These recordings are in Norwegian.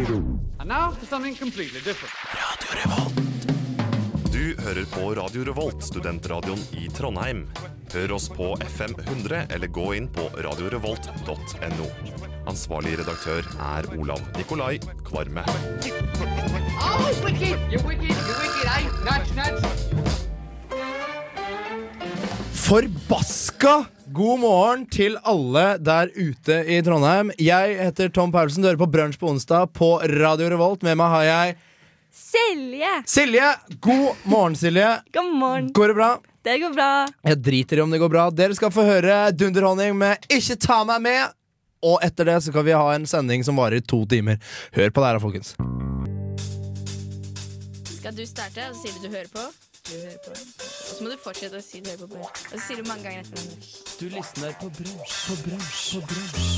And now for something completely different. Du hører på Radio Revolt, studentradioen i Trondheim. Hør oss på FM 100 eller gå inn på radiorevolt.no. Ansvarlig redaktør er Olav Nikolai Kvarme. Oh, wicked! You wicked! You wicked! I nudge, nudge. Forbaska god morgen til alle der ute i Trondheim. Jeg heter Tom Paulsen, du hører på Brunsj på onsdag på Radio Revolt. Med meg har jeg Selje! Silje. God morgen, Silje. God morgen. Går det bra? Det går bra. Jeg driter i om det går bra. Dere skal få høre Dunderhonning med Ikke ta meg med. Og etter det så skal vi ha en sending som varer to timer. Hør på det her, da, folkens. Skal du starte, og så sier du du hører på. Du hører på. Og så må du fortsette å si du hører på. Bård. Og så sier du mange ganger etter hverandre. Du lysner på brunsj, på brunsj, på brunsj.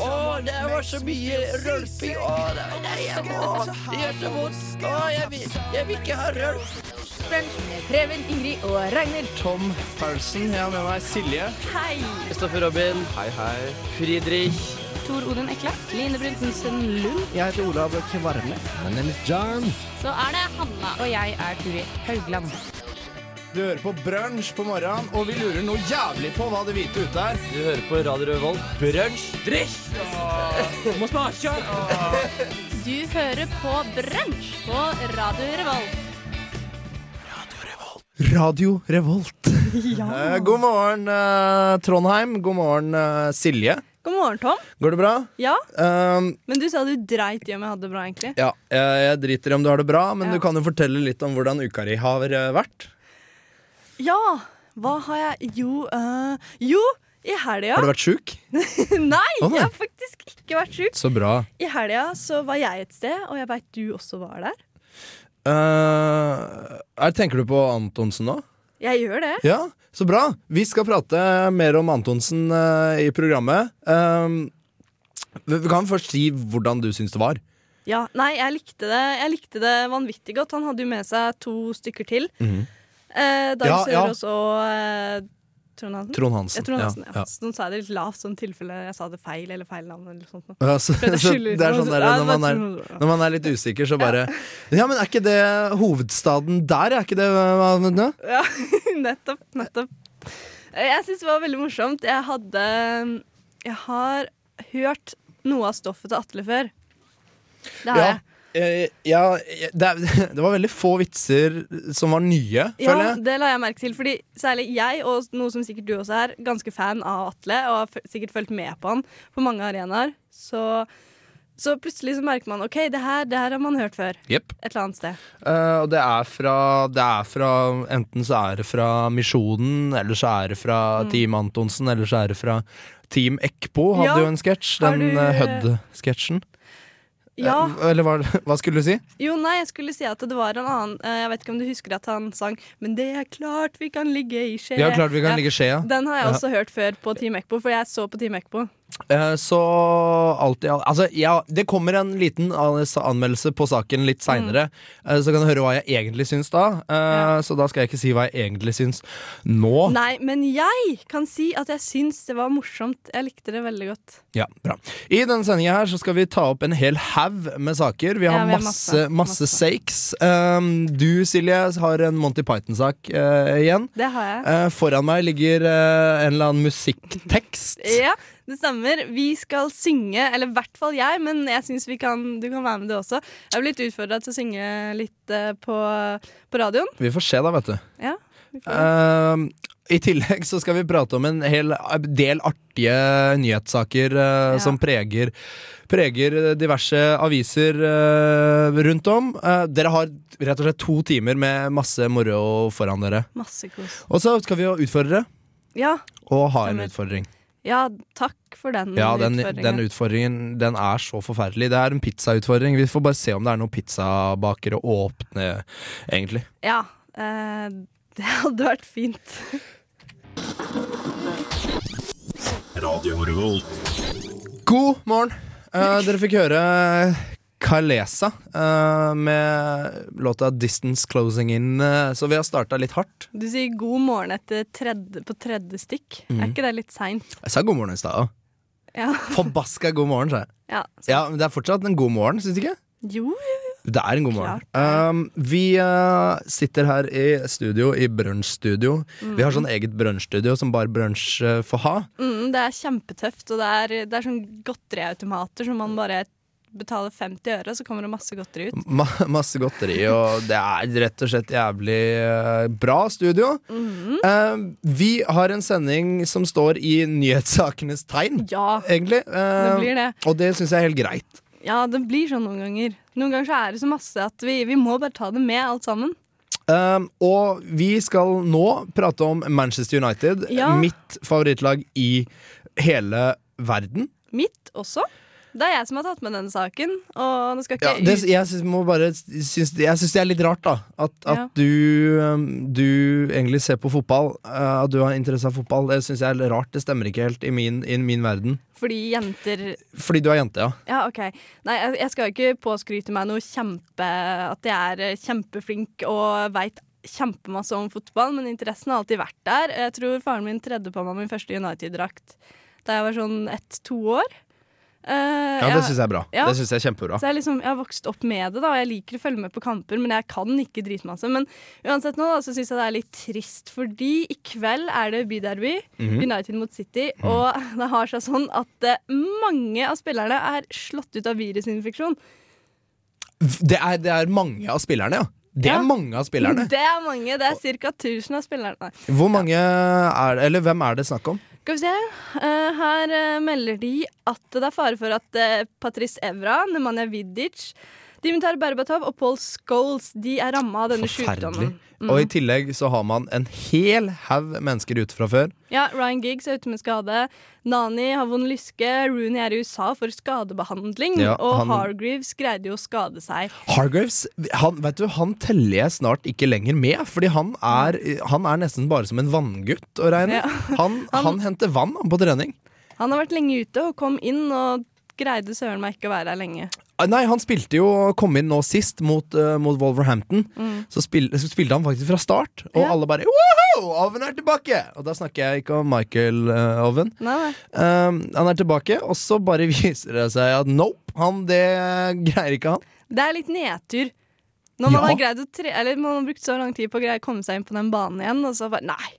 Å, det var så mye rølping. Å, det var nei, jeg må. Det gjør så vondt. Å, jeg vil, jeg vil ikke ha rølp. Preben, Ingrid og Ragnhild. Tom Paulsen. Jeg har med meg Silje. Hei! Kristoffer Robin. Hei, hei. Fridrik. Tor Odin Ekla. Line Bruntensen Lund. Jeg heter Olav Kvarme. Så er det Hanna. Og jeg er Turi Haugland. Du hører på Brunsj på morgenen, og vi lurer noe jævlig på hva det hvite ute er. Du hører på Radio Revolt. Brunsj. Drikk. Må smake. Du hører på Brunsj på Radio Revolt. Radio Revolt. Eh, god morgen, eh, Trondheim. God morgen, eh, Silje. God morgen, Tom. Går det bra? Ja, Um, men du sa du dreit i om jeg hadde det bra, egentlig. ja, jeg, jeg driter i om du har det bra, men Ja. du kan jo fortelle litt om hvordan uka di har eh, vært. Ja! Hva har jeg Jo, øh, jo i helga Har du vært sjuk? Nei, Å, nei. jeg har faktisk ikke vært sjuk. Så bra. I helga så var jeg et sted, og jeg veit du også var der. Eh, er- tenker du på Antonsen nå? Jeg gjør det. Ja, så bra. Vi skal prate mer om Antonsen eh, i programmet. Um, vi vi kan først si hvordan du syns det var. Ja, Nei, jeg likte det Jeg likte det vanvittig godt. Han hadde jo med seg to stykker til. eh, Dag Mhm. Ja, ja. Sørås og eh, Trond Hansen. Trond Hansen. Jeg tror Ja, nesten, ja. ja. Så nå sa jeg det litt lavt, sånn tilfelle jeg sa det feil eller feil navn. eller sånt. nå. Ja, så, Prøvde å så skylde det ut er noe, sånn så- der, ja, når, man er, det var- når man er litt usikker, så bare Ja, men er ikke det hovedstaden der? Er ikke det hva- hva- hva- Ja, nettopp, nettopp. Eh, Jeg syns det var veldig morsomt. Jeg hadde Jeg har hørt noe av stoffet til Atle før. Det har Ja, jeg. eh, ja det, er, det var veldig få vitser som var nye, føler Ja, jeg. det la jeg merke til, fordi særlig jeg, og noe som sikkert du også er, ganske fan av Atle, og har f- sikkert fulgt med på han på mange arenaer, så, så plutselig så merker man OK, det her, det her har man hørt før. Jepp. Et eller annet sted. Eh, og det er fra, det er fra Enten så er det fra Misjonen, eller så er det fra Mm. Team Antonsen, eller så er det fra Team Ekpo. Hadde Ja. jo en sketsj, Har den du- eh, Hødd-sketsjen. Ja. Eh, eller hva, hva skulle du si? Jo, nei, jeg skulle si at det var en annen eh, Jeg vet ikke om du husker at han sang 'Men det er klart vi kan ligge i skje'. Ja, klart vi kan ligge i skjea. Den har jeg også hørt før på Team Ekpo, for jeg så på Team Ekpo. Eh, så alt i alt Altså, ja, det kommer en liten an- anmeldelse på saken litt seinere. Mm. Eh, så kan du høre hva jeg egentlig syns da. Eh, Så da skal jeg ikke si hva jeg egentlig syns nå. Nei, men jeg kan si at jeg syns det var morsomt. Jeg likte det veldig godt. Ja, bra. I denne sendinga her så skal vi ta opp en hel haug med saker. Vi har, Ja, vi har masse, masse, masse, masse. sakes. Um, du, Silje, har en Monty Python-sak eh, igjen. Det har jeg. Eh, foran meg ligger eh, en eller annen musikktekst. Ja, det stemmer. Vi skal synge, eller i hvert fall jeg, men jeg syns vi kan, du kan være med det også. Jeg er blitt utfordra til å synge litt eh, på, på radioen. Vi får se, da, vet du. Ja, vi får- Um, I tillegg så skal vi prate om en hel del artige nyhetssaker eh, Ja. som preger, preger diverse aviser eh, rundt om. Eh, dere har rett og slett to timer med masse moro foran dere. Masse kos. Og så skal vi jo utfordre Ja, og ha en Stemmer. utfordring. ja, takk for den Ja, den, utfordringen. den utfordringen den er så forferdelig. Det er en pizzautfordring. Vi får bare se om det er noen pizzabakere åpne, egentlig. Ja, eh, det hadde vært fint. God morgen! Eh, dere fikk høre Kalesa eh, med låta 'Distance Closing In', eh, så vi har starta litt hardt. Du sier Mhm. god morgen etter tredje, på tredje stikk. Er ikke det litt seint? Jeg sa god morgen i stad. Ja. Forbaska god morgen, sa jeg. ja. Så, Ja, men det er fortsatt en god morgen, syns du ikke? jo, jo, jo. Det er en god morgen. Um, vi uh, sitter her i studio, i brunsjstudio. Vi har sånn eget brunsjstudio som bare brunsj uh, får ha. Mm, det er kjempetøft, og det er, det er sånn godteriautomater som man bare betaler 50 øre, så kommer det masse godteri ut. Ma masse godteri, og det er rett og slett jævlig eh, bra studio. Mhm. Eh, vi har en sending som står i nyhetssakenes tegn, Ja, egentlig. Eh, det blir det. Og det syns jeg er helt greit. Ja, det blir sånn noen ganger. Noen ganger så er det så masse at vi, vi må bare ta det med, alt sammen. Eh, og vi skal nå prate om Manchester United, Ja. mitt favorittlag i hele verden. Mitt også. Det er jeg som har tatt med denne saken, og nå skal ikke Ja, det, jeg syns må bare syns, Jeg syns det er litt rart, da. At, at Ja. du, um, du egentlig ser på fotball. uh, At du har interesse av fotball. Det syns jeg er litt rart. Det stemmer ikke helt i min, i min verden. ut fordi jenter Fordi du er jente, ja. Ja, OK. Nei, jeg, jeg skal ikke påskryte meg noe kjempe At jeg er eh, kjempeflink og veit kjempemasse om fotball, men interessen har alltid vært der. Jeg tror faren min tredde på meg min første United-drakt da jeg var sånn ett-to år. Eh, Ja, jeg- Det syns jeg er bra. Ja. Det synes jeg er kjempebra Så jeg, liksom, jeg har vokst opp med det, da, og jeg liker å følge med på kamper, men jeg kan ikke dritmasse. Men uansett nå da, så syns jeg det er litt trist, fordi i kveld er det byderby. Mhm. United mot City. Og det har seg sånn at eh, mange av spillerne er slått ut av virusinfeksjon. Det er, det er mange av spillerne, ja. Det er Ja. mange av spillerne. Det er mange. Det er ca. 1000 av spillerne. Nei. Hvor mange er det, eller hvem er det snakk om? Skal vi se. Eh, her eh, melder de at det er fare for at eh, Patrice Evra, Nemanja Vidic, Dimitar Berbatov og Paul Scholes de er ramma av denne Forferdelig. sykdommen. Mm. Og i tillegg så har man en hel haug mennesker ute fra før. Ja, Ryan Giggs er ute med skade. Nani har vond lyske. Rooney er i USA for skadebehandling. Ja, og han- Hargreaves greide jo å skade seg. Hargraves han, vet du, han teller jeg snart ikke lenger med, fordi han er, han er nesten bare som en vanngutt å regne. Han, han, henter vann han, på trening. Han har vært lenge ute og kom inn og greide søren meg ikke å være her lenge. Ah, Nei, han spilte jo kom inn nå sist mot, eh, mot Wolverhampton. Så, spil, så spilte han faktisk fra start, og Mm. Ja. alle bare Woho! Oven er tilbake! Og da snakker jeg ikke om Michael eh, Oven. Nei, nei. Um, han er tilbake, og så bare viser det seg at nope, han, det greier ikke han. Det er litt nedtur. Når man Ja. har greid å tre Eller man har brukt så lang tid på å greie å komme seg inn på den banen igjen, og så bare Nei,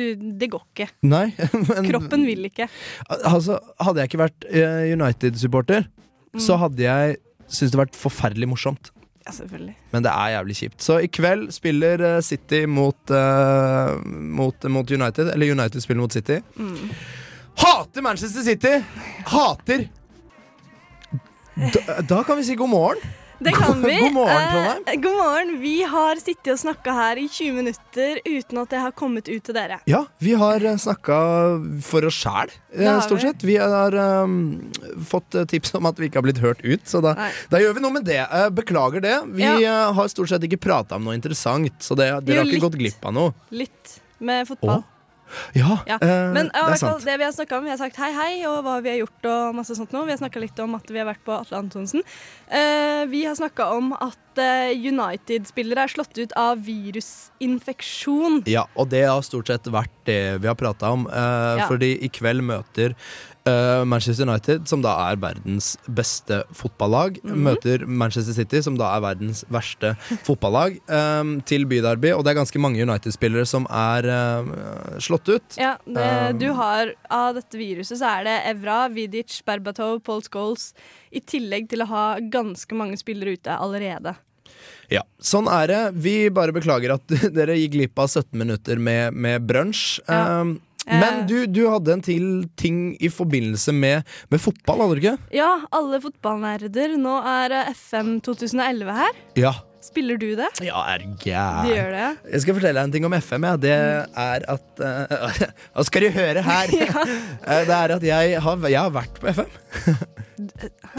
du, det går ikke. Nei, men Kroppen vil ikke. Al- Altså, hadde jeg ikke vært eh, United-supporter, så hadde jeg syntes det vært forferdelig morsomt. Ja, selvfølgelig. Men det er jævlig kjipt. Så i kveld spiller eh, City mot, eh, mot, mot United. Eller United spiller mot City. Hater Manchester City! Hater! Da, da kan vi si god morgen. Det kan vi. God morgen, Trondheim. Eh, god morgen. Vi har sittet og snakka her i 20 minutter uten at det har kommet ut til dere. Ja, vi har eh, snakka for oss sjæl, eh, Det har stort vi. sett. Vi har eh, fått eh, tips om at vi ikke har blitt hørt ut, så da, Nei. da gjør vi noe med det. Eh, beklager det. Vi eh, har stort sett ikke prata om noe interessant, så det, dere Jo, har ikke litt. gått glipp av noe. Litt med fotball. Å, Ja, Ja. eh, Men ja, det det, er sant. det vi har snakka om, vi har sagt hei, hei, og hva vi har gjort og masse sånt nå. Vi har snakka litt om at vi har vært på Atle Antonsen. Eh, vi har snakka om at eh, United-spillere er slått ut av virusinfeksjon. Ja, og det har stort sett vært det vi har prata om. eh, Ja. Fordi i kveld møter eh, Manchester United, som da er verdens beste fotballag, Mhm. møter Manchester City, som da er verdens verste fotballag, eh, til byderby. Og det er ganske mange United-spillere som er eh, slått ut. Ja, det, Um. du har Av dette viruset så er det Evra, Vidic, Berbatov, Paul Scholes, i tillegg til å ha ganske mange spillere ute allerede. Ja, Sånn er det. Vi bare beklager at dere gikk glipp av 17 minutter med, med brunsj. Ja. Eh, Eh. Men du, du hadde en til ting i forbindelse med, med fotball, hadde du ikke? Ja, alle fotballnerder, nå er eh, FM 2011 her. Ja. Spiller du det? Ja, er du gæren? Du gjør det, ja? Jeg skal fortelle deg en ting om FM. Ja. Det er at eh, Hva skal du høre her? Eh, det er at jeg har, jeg har vært på FM.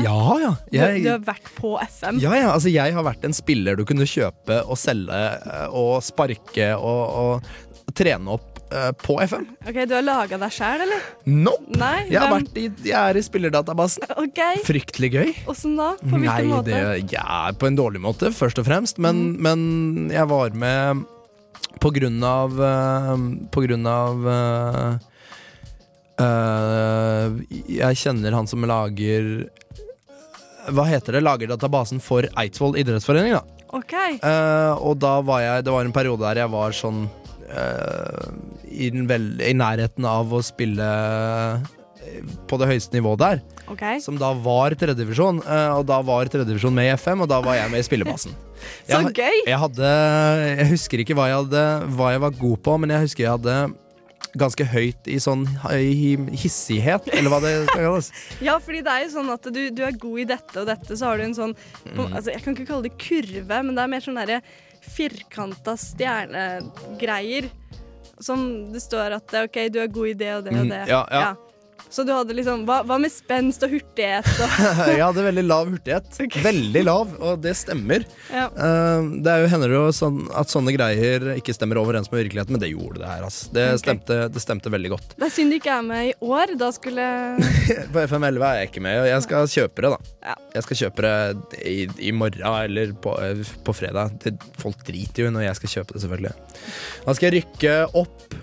ja, ja. Du, Jeg, du har vært på FM. ja, ja. Altså, jeg har vært en spiller du kunne kjøpe og selge eh, og sparke og, og trene opp eh, på FM. Ok, Du har laga deg sjæl, eller? Nope! Nei? Jeg, har hvem- vært i, jeg er i spillerdatabasen. Ok, Fryktelig gøy. Åssen da? På hvilken Nei, måte? Mm. Det, ja, på en dårlig måte, først og fremst. Men, men jeg var med på grunn av eh, På grunn av eh, Eh, jeg kjenner han som lager Hva heter det? Lager databasen for Eidsvoll idrettsforening, da. OK. Eh, og da var jeg Det var en periode der jeg var sånn eh, i, den vel, I nærheten av å spille eh, på det høyeste nivået der, ok som da var tredjedivisjon. Uh, og da var tredjedivisjon med i FM, og da var jeg med i spillebasen. Så Jeg- gøy! jeg hadde Jeg husker ikke hva jeg, hadde, hva jeg var god på, men jeg husker jeg hadde ganske høyt i sånn i hissighet, eller hva det skal kalles. Ja, fordi det er jo sånn at du, du er god i dette og dette, så har du en sånn på, Mm. altså, Jeg kan ikke kalle det kurve, men det er mer sånn derre firkanta stjernegreier. Som det står at eh, OK, du er god i det og det Mm, og det. ja, ja. Så du hadde liksom Hva, hva med spenst og hurtighet og Jeg hadde veldig lav hurtighet. Veldig lav, og det stemmer. ja. Eh, Det er jo, hender det jo sånn at sånne greier ikke stemmer overens med virkeligheten, men det gjorde det her. ass. Det, Ok. stemte, det stemte veldig godt. Det er synd du ikke er med i år. Da skulle På FM11 er jeg ikke med, og jeg skal kjøpe det, da. Ja. Jeg skal kjøpe det i, i morgen eller på, eh, på fredag. Det, folk driter jo når jeg skal kjøpe det, selvfølgelig. Da skal jeg rykke opp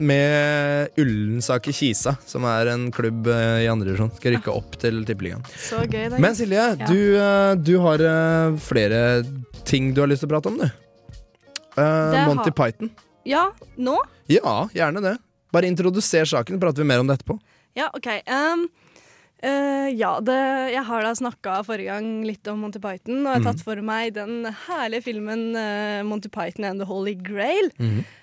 med Ullensaker Kisa, som er en klubb eh, i andre divisjon. Skal jeg rykke opp til Tippeligaen. Så gøy, da. Men Silje, du, eh, du har eh, flere ting du har lyst til å prate om, du. Eh, Det Monty har- Python. Ja, nå? Ja, gjerne det. Bare introduser saken, prater vi mer om det etterpå. Ja, OK. Um, eh, ja, det, jeg har da snakka forrige gang litt om Monty Python, og jeg har Mhm. tatt for meg den herlige filmen eh, Monty Python and the Holy Grail.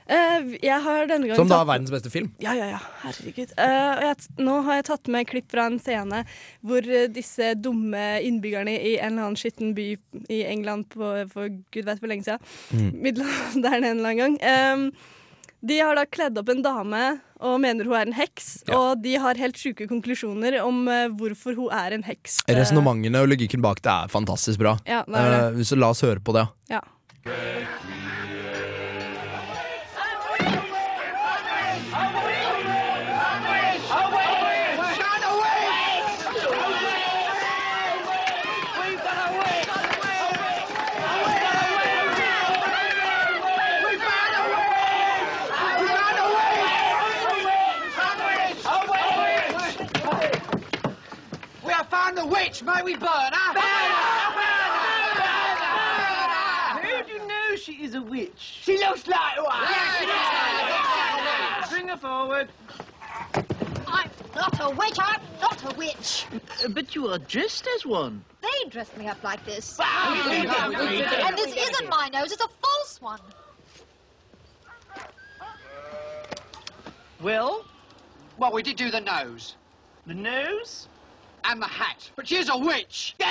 Eh, jeg har denne Mhm. gangen Som da tatt- er verdens beste film. Ja, ja, ja. Herregud. Eh, og jeg, t- nå har jeg tatt med klipp fra en scene hvor eh, disse dumme innbyggerne i en eller annen skitten by i England på, for gud vet hvor lenge siden, middelalderen en eller annen gang, em, de har da kledd opp en dame og mener hun er en heks, og de har helt sjuke konklusjoner om eh, hvorfor hun er en heks. Eh, Resonnementene og logikken bak det er fantastisk bra. Ja, det er Eh, så la oss høre på det. ja. We have found the witch, may we burn her! Burn her! Burn her! Burn her! Burn her! How do you know she is a witch? She looks like one! Yes, she looks like one! Bring her forward. I'm not a witch. I'm not a witch. Uh, But you are dressed as one. They dressed me up like this. and this isn't my nose. It's a false one. Well, Well, we did do the nose the nose? and the hat, but she's a witch! Did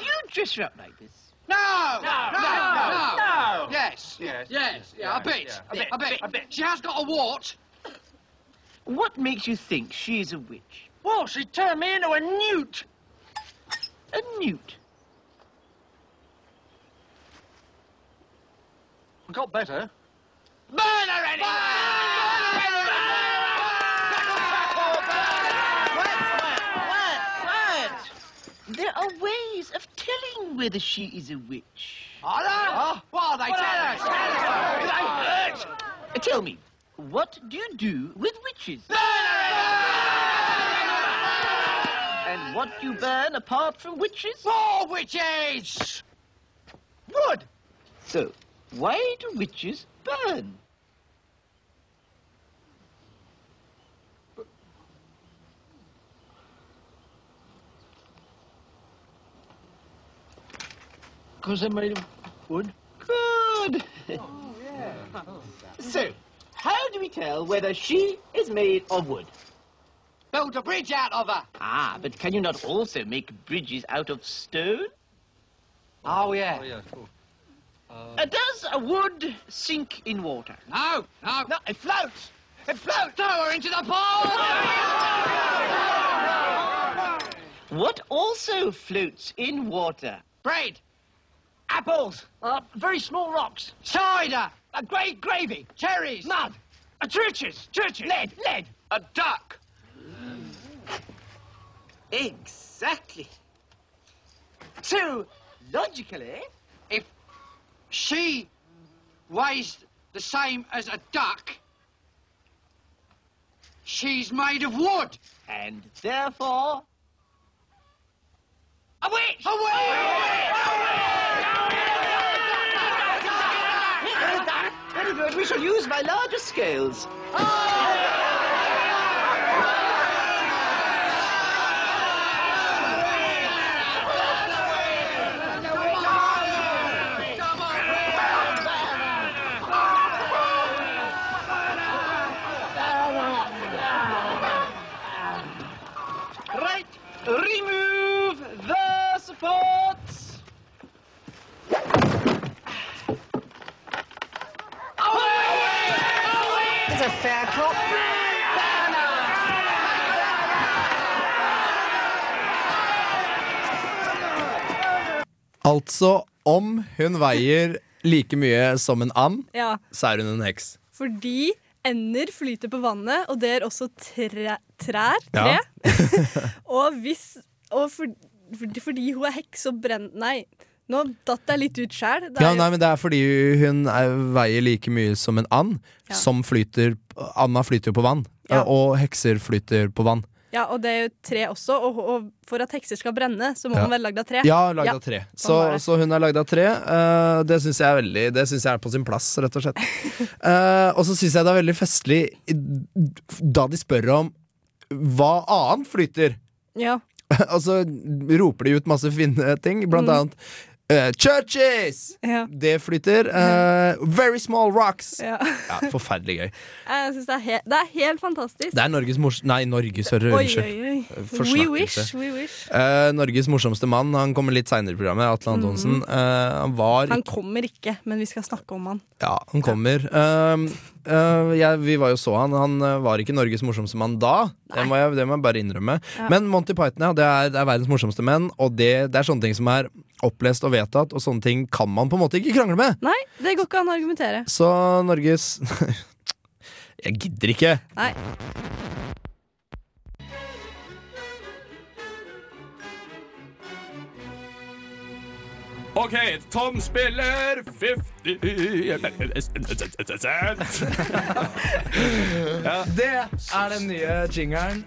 you dress her up like this? No! No! No! No! Yes. Yes. Yes. Yeah, a bit. A bit. A bit. A bit. She has got a wart. What makes you think she's a witch? Well, she turned me into a newt. A newt? Got better. Burn her anyway! There are ways of telling whether she is a witch. Are they? What are they? Tell us! Uh, Tell me, what do you do with witches? And what do you burn apart from witches? More witches! Wood! So, why do witches burn? Because they're made of wood. Good. So, how do we tell whether she is made of wood? Build a bridge out of her. Ah, but can you not also make bridges out of stone? Oh, yeah. Uh, does a wood sink in water? No, no. No, it floats. It floats. Throw her into the pond. What also floats in water? Bread. Apples. Uh, very small rocks. Cider. A great gravy. Cherries. Mud. A churches. Churches. Lead. Lead. A duck. Exactly. So, logically, If she weighs the same as a duck, She's made of wood. And therefore, A witch! A witch! Very good, very good. We shall use my larger scales. Right. Remove the supports. It's a fair cop. Altså, om hun veier like mye som en and, Ja, så er hun en heks. fordi ender flyter på vannet, og det er også tre, trær. Tre. Ja. og hvis Og for, for, fordi hun er heks og brenn... Nei, nå datt jeg litt ut sjæl. Ja, nei, men Det er fordi hun er, veier like mye som en and. Ja. Som flyter Anda flyter jo på vann. Ja. Og hekser flyter på vann. ja, og det er jo tre også, og, og for at hekser skal brenne, så må Ja. man være lagd av tre. Ja, lagd Ja, av tre. Så, sånn var det. så hun er lagd av tre. Eh, det syns jeg er veldig Det synes jeg er på sin plass, rett og slett. Eh, og så syns jeg det er veldig festlig i- da de spør om hva annet flyter. Ja. Og så roper de ut masse fine ting, blant annet eh, Churches! Mm. Ja. Det flyter. eh, very small rocks. Ja. Ja, forferdelig gøy. Jeg synes det, er he det er helt fantastisk. Det er Norges mors... Nei, Norges, hører oi, unnskyld. oi, oi. We Forsnakkelse. wish, we wish. Eh, Norges morsomste mann. Han kommer litt seinere i programmet. Atle Mm. Antonsen. Eh, han var Han kommer ikke, men vi skal snakke om han. Ja, han kommer. Um, uh, jeg, vi var jo så han. Han uh, var ikke Norges morsomste mann da. Det må, jeg, det må jeg bare innrømme. Men Monty Python ja, det er, det er verdens morsomste menn, og det, det er sånne ting som er opplest og vedtatt, og sånne ting kan man på en måte ikke krangle med. Nei, det går ikke an å argumentere. Så Norges Jeg gidder ikke! Nei. OK, Tom spiller 50 Det er den nye jingeren.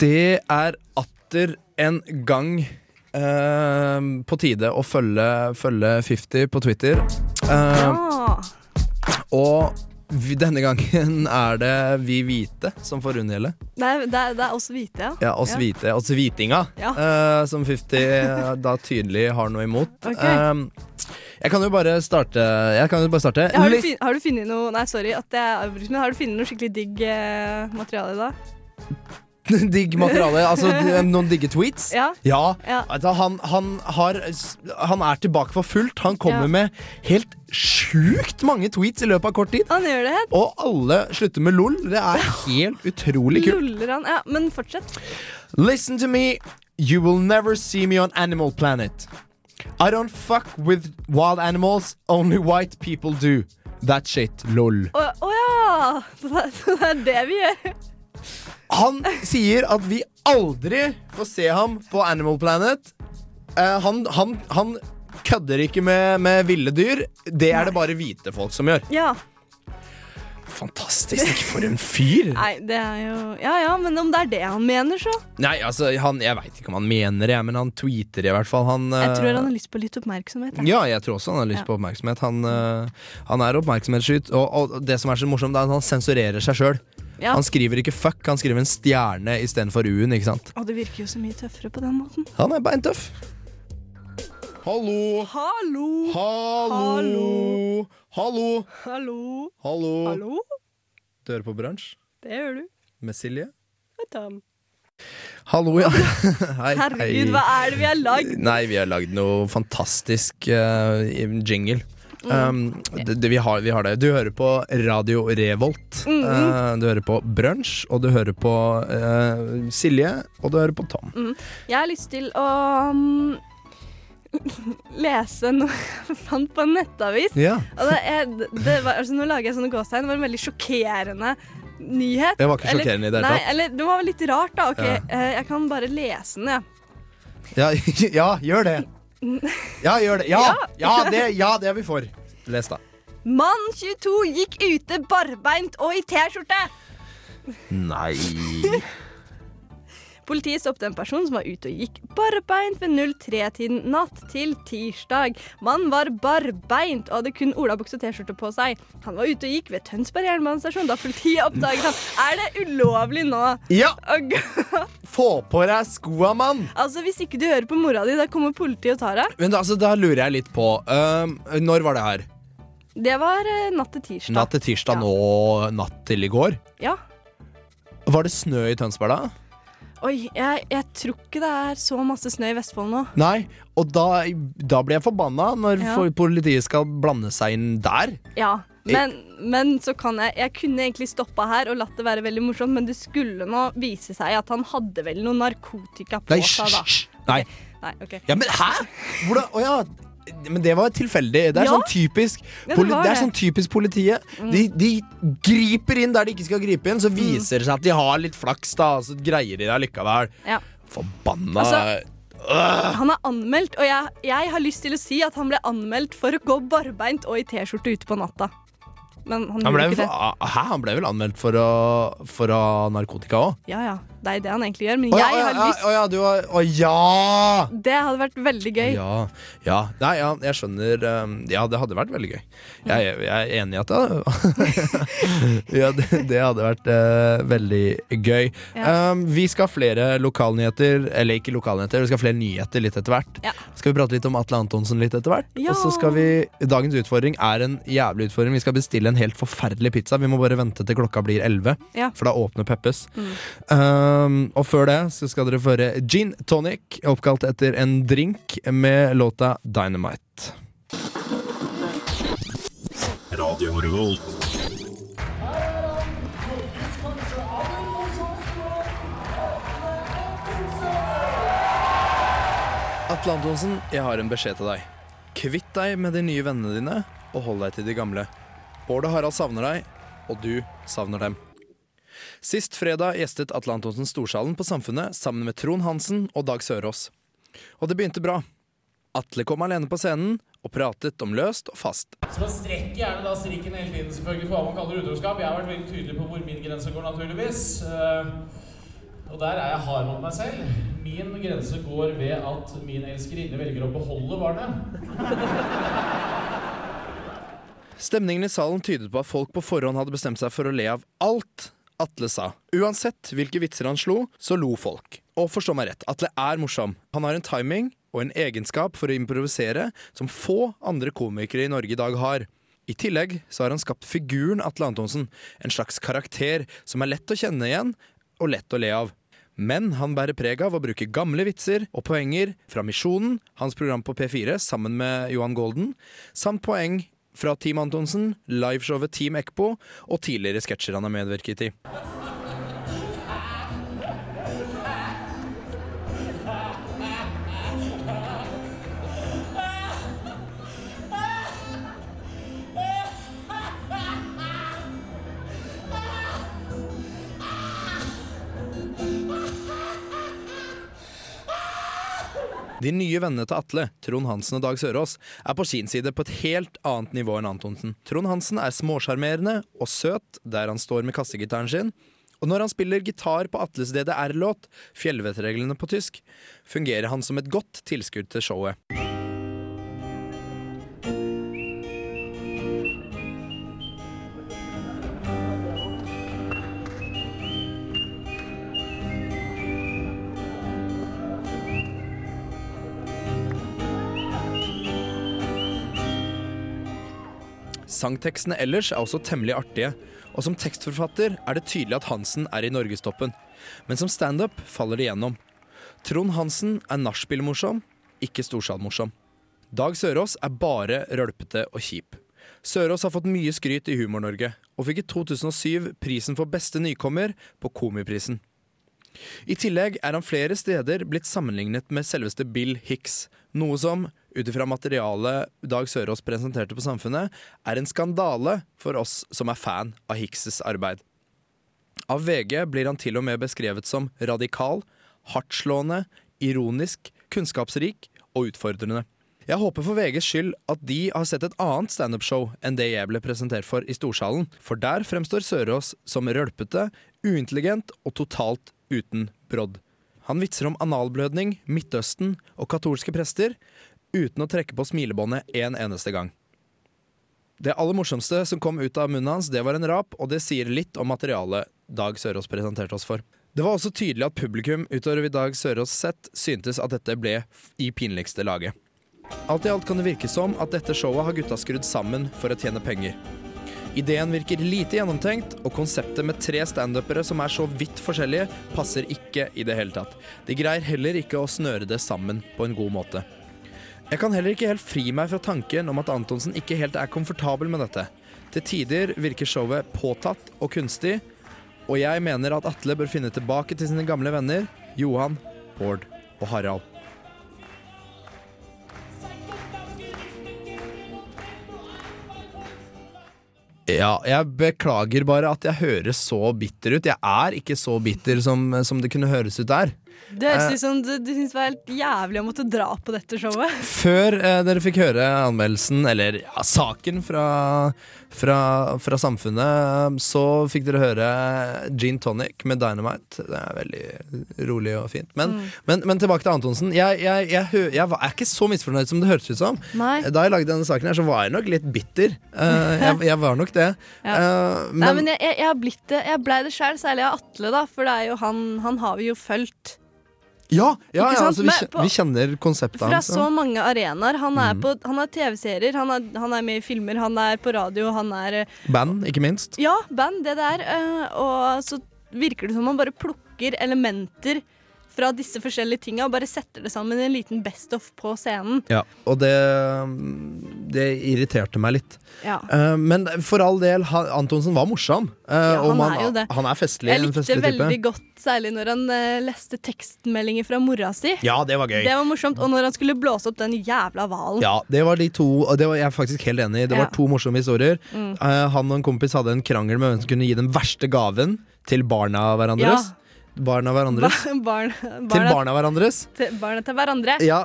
Det er atter en gang eh, på tide å følge, følge 50 på Twitter. Eh, Ah, Og vi, denne gangen er det vi hvite som får unngjelde. det, er, det, er, det er oss hvite, ja. Ja, oss hvite, oss hvitinga, eh, som 50 da tydelig har noe imot. Ok. Eh, jeg kan jo bare starte. Jeg kan jo bare starte. Ja, har, du Litt- fin, har du funnet noe Nei, sorry at jeg avbryter, men har du funnet noe skikkelig digg eh, materiale da? digg materiale. Altså d- noen digge tweets. Ja. Ja. Altså, han, han, har, s- han er tilbake for fullt. Han kommer Ja. med helt sjukt mange tweets i løpet av kort tid. Han gjør det. Og alle slutter med lol. Det er helt utrolig kult. Luller han. Ja, men fortsett. Listen to me. You will never see me on Animal Planet. I don't fuck with wild animals. Only white people do. That shit. Lol. Å å ja! Så det, så det er det vi gjør. Han sier at vi aldri får se ham på Animal Planet. Eh, han, han, han kødder ikke med, med ville dyr. Det er det bare hvite folk som gjør. Ja. Fantastisk. For en fyr. Nei, det er jo Ja ja, men om det er det han mener, så. Nei, altså, han, jeg veit ikke om han mener det, men han tweeter i hvert fall. Han, Jeg tror eh, han har lyst på litt oppmerksomhet. jeg. Ja, jeg tror også han har lyst Ja. på oppmerksomhet. Han, øh, han er oppmerksomhetsskyt, og, og det som er så morsomt, er at han sensurerer seg sjøl. Ja. Han skriver ikke fuck, han skriver en stjerne istedenfor U-en, ikke sant. Og det virker jo så mye tøffere på den måten. Han er beintøff. Hallo, Hallo! hallo, hallo, Hallo! hallo. Hallo? Du hører på Brunsj Det gjør du. med Silje. Vet du. Hallo, ja. Hei, Herregud, hva er det vi har lagd? Nei, vi har lagd noe fantastisk eh, jingle. Um, det, det, vi, har, vi har det. Du hører på Radio Revolt. eh, du hører på Brunsj, og du hører på eh, Silje, og du hører på Tom. Jeg har lyst til å um, lese noe jeg fant på en nettavis. Ja. Og det er, det var, altså, nå lager jeg sånne gåstegn. Det var en veldig sjokkerende nyhet. Det var ikke sjokkerende i det hele nei, tatt. Eller, det var litt rart, da. Ok, Ja. eh, Jeg kan bare lese den, jeg. Ja, gjør det! Ja, gjør det. Ja, ja, det, ja, det er vi for. Les, da. Mann 22 gikk ute barbeint og i T-skjorte. Nei Politiet stoppet en person som var ute og gikk barbeint ved 03-tiden natt til tirsdag. Mannen var barbeint og hadde kun olabukse og T-skjorte på seg. Han var ute og gikk ved Tønsberg jernbanestasjon da politiet oppdaget ham. Er det ulovlig nå? Ja, Å gå- få på deg skoa, mann! altså, Hvis ikke du hører på mora di, da kommer politiet og tar deg. Men da, altså, da lurer jeg litt på øhm, Når var det her? Det var eh, natt til tirsdag. Natt til tirsdag Ja. nå, natt til i går? Ja. Var det snø i Tønsberg da? Oi, jeg, jeg tror ikke det er så masse snø i Vestfold nå. Nei. Og da, da blir jeg forbanna når Ja. for- politiet skal blande seg inn der. Ja, men, men så kan jeg Jeg kunne egentlig stoppa her og latt det være veldig morsomt, men det skulle nå vise seg at han hadde vel noe narkotika på Nei, seg, hysj! da. hysj. Nei. Nei, ok. Ja, men hæ?! Hvordan Å ja. Men det var tilfeldig. Det er Ja. sånn typisk Ja, det poli, var Det er det. Mm. sånn typisk politiet. De, de griper inn der de ikke skal gripe inn, så viser det seg at de har litt flaks, da, og så greier de det likevel. Ja. Forbanna Altså- Han er anmeldt, og jeg, jeg har lyst til å si at han ble anmeldt for å gå barbeint og i T-skjorte ute på natta. Men han, han ble, gjorde ikke det. hæ? han ble vel anmeldt for å, for å ha narkotika òg? Ja ja, det er det han egentlig gjør, men Å ja, jeg å ja, har ja, lyst å ja, du har Å ja! Det hadde vært veldig gøy. Ja, ja. Nei, ja, jeg skjønner um, Ja, det hadde vært veldig gøy. Jeg, jeg er enig i at det Ja, det, det hadde vært eh, veldig gøy. Ja. Um, vi skal ha flere lokalnyheter, eller ikke lokalnyheter, vi skal ha flere nyheter litt etter hvert. Ja. Skal vi prate litt om Atle Antonsen litt etter hvert? Ja. Og så skal vi Dagens utfordring er en jævlig utfordring. Vi skal bestille en helt forferdelig pizza. Vi må bare vente til klokka blir 11, Ja. for da åpner Peppes. Um, og før det så skal dere få høre Gin Tonic, oppkalt etter en drink, med låta Dynamite. Atle Antonsen, jeg har en beskjed til deg. Kvitt deg med de nye vennene dine, og hold deg til de gamle. Bård og Harald savner deg, og du savner dem. Sist fredag gjestet Atle Antonsen Storsalen på Samfunnet sammen med Trond Hansen og Dag Sørås. Og det begynte bra. Atle kom alene på scenen og pratet om løst og fast. Så man strekker gjerne da strikken hele tiden, selvfølgelig, for hva man kaller utroskap. Jeg har vært veldig tydelig på hvor min grense går, naturligvis. Eh, og der er jeg hard mot meg selv. Min grense går ved at min elskerinne velger å beholde barnet. Stemningen i salen tydet på at folk på forhånd hadde bestemt seg for å le av alt Atle sa. Uansett hvilke vitser han slo, så lo folk. Og forstå meg rett, Atle er morsom. Han har en timing og en egenskap for å improvisere som få andre komikere i Norge i dag har. I tillegg så har han skapt figuren Atle Antonsen, en slags karakter som er lett å kjenne igjen og lett å le av. Men han bærer preg av å bruke gamle vitser og poenger fra Misjonen, hans program på P4 sammen med Johan Golden, samt poeng fra Team Antonsen, liveshowet Team Ekpo og tidligere sketsjer han har medvirket i. De nye vennene til Atle, Trond Hansen og Dag Sørås, er på sin side på et helt annet nivå enn Antonsen. Trond Hansen er småsjarmerende og søt der han står med kassegitaren sin. Og når han spiller gitar på Atles DDR-låt, 'Fjellvettreglene' på tysk, fungerer han som et godt tilskudd til showet. Sangtekstene ellers er også temmelig artige, og som tekstforfatter er det tydelig at Hansen er i norgestoppen. Men som standup faller det gjennom. Trond Hansen er nachspiel-morsom, ikke storsalmorsom. Dag Sørås er bare rølpete og kjip. Sørås har fått mye skryt i Humor-Norge, og fikk i 2007 prisen for beste nykommer på Komiprisen. I tillegg er han flere steder blitt sammenlignet med selveste Bill Hicks, noe som, ut ifra materialet Dag Sørås presenterte på Samfunnet, er en skandale for oss som er fan av Hickses arbeid. Av VG blir han til og med beskrevet som radikal, hardtslående, ironisk, kunnskapsrik og utfordrende. Jeg håper for VGs skyld at de har sett et annet standup-show enn det jeg ble presentert for i Storsalen, for der fremstår Sørås som rølpete, uintelligent og totalt uten brodd. Han vitser om analblødning, Midtøsten og katolske prester, uten å trekke på smilebåndet en eneste gang. Det aller morsomste som kom ut av munnen hans, det var en rap, og det sier litt om materialet Dag Sørås presenterte oss for. Det var også tydelig at publikum utover i Dag Sørås sett syntes at dette ble f- i pinligste laget. Alt i alt kan det virke som at dette showet har gutta skrudd sammen for å tjene penger. Ideen virker lite gjennomtenkt, og konseptet med tre standupere som er så vidt forskjellige, passer ikke i det hele tatt. De greier heller ikke å snøre det sammen på en god måte. Jeg kan heller ikke helt fri meg fra tanken om at Antonsen ikke helt er komfortabel med dette. Til tider virker showet påtatt og kunstig, og jeg mener at Atle bør finne tilbake til sine gamle venner Johan, Bård og Harald. Ja, jeg beklager bare at jeg høres så bitter ut. Jeg er ikke så bitter som, som det kunne høres ut der. Det høres Eh, ut som du, du syns det var helt jævlig å måtte dra på dette showet. Før eh, dere fikk høre anmeldelsen, eller ja, saken fra, fra, fra Samfunnet, så fikk dere høre Gene Tonic med Dynamite. Det er veldig rolig og fint. Men, Mm. men, men tilbake til Antonsen. Jeg, jeg, jeg, hø- jeg var- er ikke så misfornøyd som det hørtes ut som. Nei. Da jeg lagde denne saken her, så var jeg nok litt bitter. Eh, jeg, jeg var nok det. Eh, men, Nei, men jeg, jeg, jeg har blitt det. Jeg blei det sjøl, særlig av Atle, da, for det er jo han, han har vi jo fulgt. ja, ja, Ikke ja sant? altså, vi, Men kjen- på- vi kjenner konseptet Fra sånn- hans. ja. Mm. så mange arenaer. Han er, på, han er TV-serier, han, er- han er med i filmer, han er på radio, han er eh, Band, ikke minst. Ja, band, det der. eh, Og så virker det som han bare plukker elementer fra disse forskjellige tinga og bare setter det sammen i en liten best of på scenen. Ja, og det, det irriterte meg litt. Ja. Eh, men for all del, han, Antonsen var morsom. eh, han og man- er jo det. han er festlig. Jeg en likte festlig type. veldig godt, særlig når han eh, leste tekstmeldinger fra mora si. Ja, det var gøy. Det var morsomt. Og når han skulle blåse opp den jævla hvalen. Ja, det var de to og Det var jeg er faktisk helt enig i. Det var Ja. to morsomme historier. Mm. Eh, han og en kompis hadde en krangel med hvem som kunne gi den verste gaven til barna hverandres. Barna hverandres. Ba- barn, Til barna- barna hverandres. til barna til hverandre. Ja.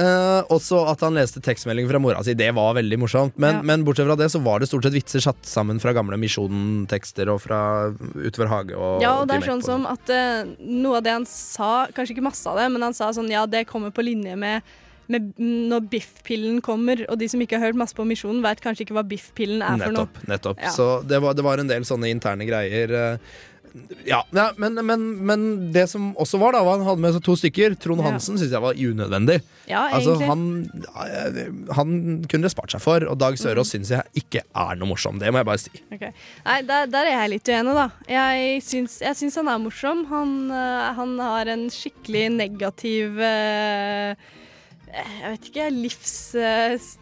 eh, også at han leste tekstmelding fra mora si. Det var veldig morsomt. Men, Ja. men bortsett fra det så var det stort sett vitser satt sammen fra gamle Misjonen-tekster og fra Utover hage. Og Ja, og det Team er sånn Ekko. som at eh, noe av det han sa, kanskje ikke masse av det, men han sa sånn ja, det kommer på linje med, med når biffpillen kommer. Og de som ikke har hørt masse på Misjonen, vet kanskje ikke hva biffpillen er for Nettopp. noe. nettopp. Ja. Så det var, det var en del sånne interne greier. eh, Ja, ja men, men, men det som også var, da, var han hadde med seg to stykker. Trond Ja. Hansen synes syns jeg var unødvendig. Ja, altså, egentlig. han, eh, han kunne det spart seg for, og Dag Sørås Mm. synes syns jeg ikke er noe morsom. Det må jeg bare si. Ok. Nei, der, der er jeg litt uenig, da. Jeg syns, jeg syns han er morsom. Han, eh, han har en skikkelig negativ eh, Jeg vet ikke, livs... eh, s-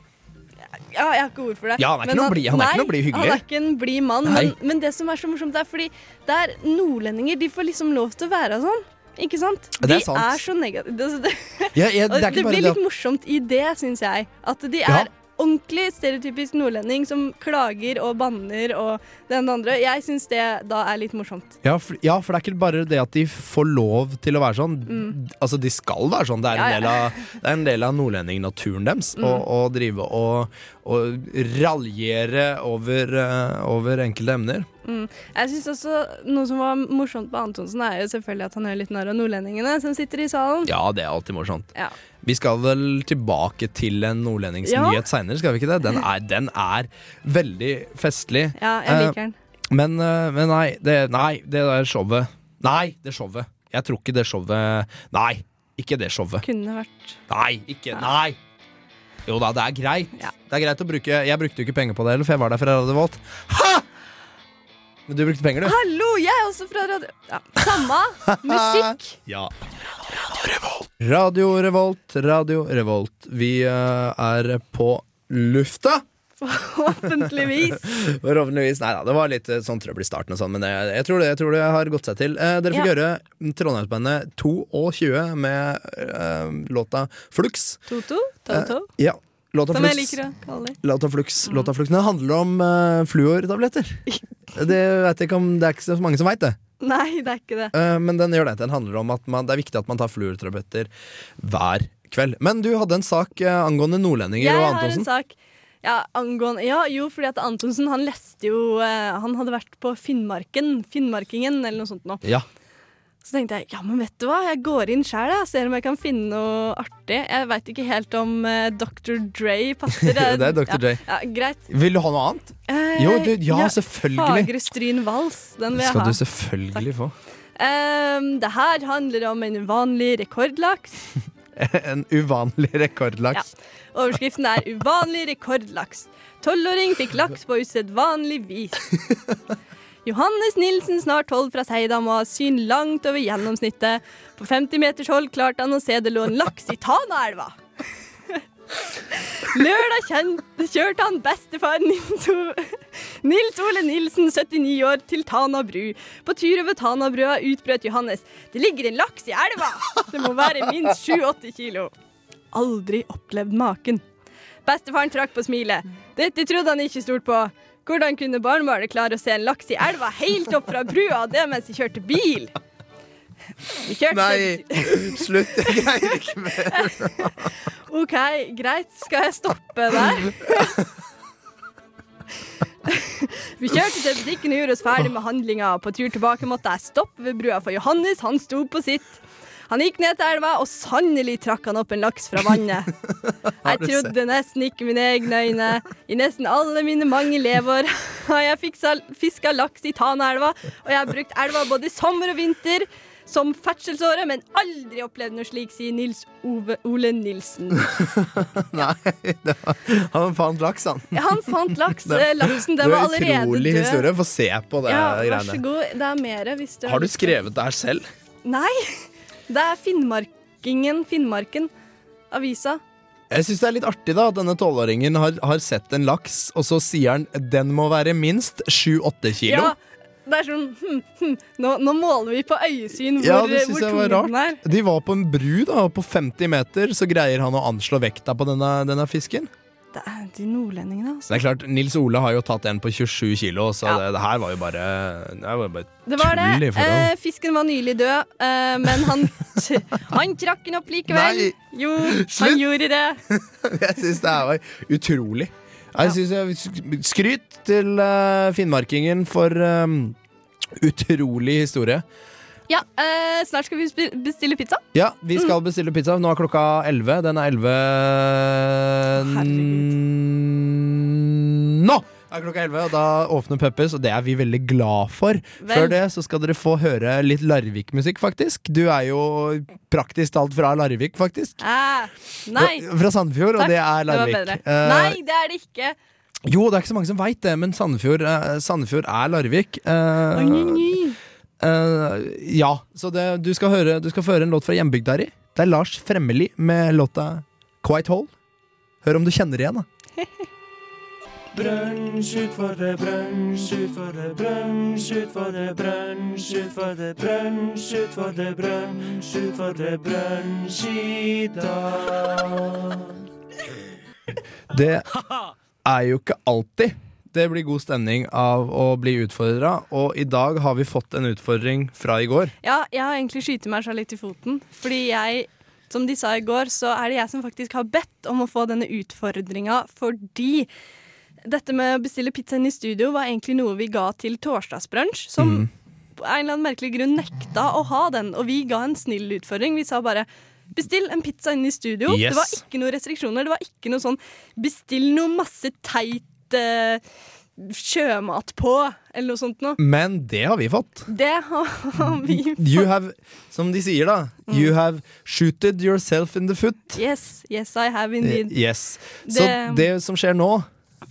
ja, jeg har ikke ord for det. Ja, han er ikke Men noe blid- han er ikke noe blid hyggelig. Han er ikke en blid mann, Nei. men, men det som er så morsomt, er fordi det er nordlendinger, de får liksom lov til å være sånn. Ikke sant? Ja, det er sant. De er så negative. Det, det, Ja, ja, det er Og ikke bare blir det at- litt morsomt i det, syns jeg. At de Ja. er ordentlig stereotypisk nordlending som klager og banner og det ene og det andre. Jeg syns det da er litt morsomt. Ja for, ja, for det er ikke bare det at de får lov til å være sånn. Mm. Altså, de skal være sånn. Det er Ja, en ja. del av, det er en del av nordlendingnaturen deres å, Mm. å drive og, og raljere over, eh, over enkelte emner. Mm. Jeg synes også Noe som var morsomt med Antonsen, er jo selvfølgelig at han gjør litt narr av nordlendingene som sitter i salen. Ja, det er alltid morsomt. Ja. Vi skal vel tilbake til en nordlendingsnyhet Ja. seinere, skal vi ikke det? Den er, den er veldig festlig. Ja, jeg liker den. Eh, men, eh, men nei, det, nei, det der showet Nei, det showet. Jeg tror ikke det showet Nei, ikke det showet. Kunne vært Nei, ikke Nei! Jo da, det er greit. Det er greit å bruke Jeg brukte jo ikke penger på det heller, for jeg var der fra Radio Volt. Ha! Men du brukte penger, du. Hallo, jeg er også fra radio... Ja, samme musikk. Ja. Radio Revolt. Radio Revolt, Radio Revolt. Vi eh, er på lufta! Forhåpentligvis. Forhåpentligvis. Nei da, det var litt eh, sånn trøbbel i starten, og sånn, men det, jeg, tror det, jeg tror det har gått seg til. Eh, dere fikk Ja. høre Trondheimsbandet 2 og 20 med eh, låta Flux. Toto? Toto? Eh, ja, låta Som jeg Flux. liker å kalle det. Låta Flux. Låta Flux. Den handler om eh, fluortabletter. Det, vet jeg ikke om, det er ikke så mange som veit det. Nei, det er ikke det. Eh, men den gjør det til en handler om at man, det er viktig at man tar fluortrompeter hver kveld. Men du hadde en sak eh, angående nordlendinger Jeg og har en Antonsen. sak ja, angående Ja, jo, fordi at Antonsen, han leste jo eh, Han hadde vært på Finnmarken, Finnmarkingen, eller noe sånt nå. Ja. Så tenkte jeg ja, men vet du hva, jeg går inn sjæl og ser om jeg kan finne noe artig. Jeg veit ikke helt om eh, Dr. Dre passer. Det er Dr. Dre. Ja, ja, greit. Vil du ha noe annet? Eh, Jo, du, ja, selvfølgelig. Fagre Stryn Vals. Den vil Det jeg skal ha. du selvfølgelig få. Ehm, det her handler om en uvanlig rekordlaks. En uvanlig rekordlaks. Overskriften er 'Uvanlig rekordlaks'. Tolvåring fikk laks på usedvanlig vis. Johannes Nilsen, snart tolv fra Seidam, og har syn langt over gjennomsnittet. På 50 meters hold klarte han å se det lå en laks i Tanaelva. Lørdag kjent, kjørte han bestefar Nils, o Nils Ole Nilsen, 79 år, til Tana bru. På tur over Tanabrua utbrøt Johannes 'Det ligger en laks i elva'. Det må være minst 7-8 kilo aldri opplevd maken. Bestefaren trakk på smilet. Dette trodde han ikke stort på. Hvordan kunne barnebarnet klare å se en laks i elva helt opp fra brua, og det mens de kjørte bil? Vi kjørte Nei, slutt. Jeg greier ikke mer. OK, greit, skal jeg stoppe der? Vi kjørte til butikken og gjorde oss ferdig med handlinga. På tur tilbake måtte jeg stoppe ved brua, for Johannes han sto på sitt. Han gikk ned til elva, og sannelig trakk han opp en laks fra vannet. Jeg du trodde nesten ikke mine egne øyne. I nesten alle mine mange leveår har jeg fiksa- fiska laks i Tanaelva, og jeg har brukt elva både sommer og vinter som ferdselsåre, men aldri opplevd noe slik, sier Nils Ove, Ole Nilsen. Nei, det var, han fant laks, han. Han fant laks. Eh, Laksen, den var allerede død. Utrolig historie. Få se på det Ja, vær så greiene. god. Det er mere hvis du Har du skrevet det her selv? Nei. Det er Finnmarkingen, Finnmarken. Avisa. Jeg syns det er litt artig da at denne tolvåringen har, har sett en laks, og så sier han den må være minst 7-8 kilo. Ja, det er sånn hm, hm. Nå, nå måler vi på øyesyn hvor, Ja, det syns hvor jeg tung var den er. rart. De var på en bru da, og på 50 meter så greier han å anslå vekta på denne, denne fisken. Det er de nordlendingene, altså. Så det er klart, Nils Ole har jo tatt en på 27 kilo, så det, det her var jo bare, det var jo bare Det var tull det. i Eh, forhold. fisken var nylig død, eh, men han, han trakk den opp likevel. Nei. Jo, Slutt. han gjorde det. jeg syns det her var utrolig. Jeg synes jeg, skryt til eh, finnmarkingen for eh, utrolig historie. Ja, eh, snart skal vi spi- bestille pizza. Ja, vi skal bestille pizza. Nå er klokka 11. Den er 11 Nå er klokka 11, og da åpner Peppers, og det er vi veldig glad for. Vel. Før det så skal dere få høre litt Larvik-musikk, faktisk. Du er jo praktisk talt fra Larvik, faktisk. Eh, nei. Fra Sandefjord, og Takk, det er var Larvik. bedre. Eh, nei, det er det ikke. Jo, det er ikke så mange som veit det, men Sandefjord, eh, Sandefjord er Larvik. Eh, eh, ja, så det, du, skal høre, du skal få høre en låt fra hjembygda di. Det er Lars Fremmeli med låta Quite Hole. Hør om du kjenner det igjen, da. Brunsj utfor det, brunsj utfor det, brunsj utfor det, brunsj utfor det, brunsj utfor det, brunsj utfor det, brunsj i dag. Det er jo ikke alltid det blir god stemning av å bli utfordra, og i dag har vi fått en utfordring fra i går. Ja, jeg har egentlig skytt meg selv litt i foten. Fordi jeg, som de sa i går, så er det jeg som faktisk har bedt om å få denne utfordringa fordi dette med å bestille pizza inn i studio var egentlig noe vi ga til torsdagsbrunsj, som Mhm. på en eller annen merkelig grunn nekta å ha den. Og vi ga en snill utfordring. Vi sa bare Bestill en pizza inn i studio. Yes. Det var ikke noen restriksjoner. Det var ikke noe sånn Bestill noe masse teit eh, sjømat på, eller noe sånt noe. Men det har vi fått. Det har vi Mm. You have, som de sier da, you have shooted yourself in the foot. Yes, yes I have indeed. Eh, Yes. Så det, Det- som skjer nå,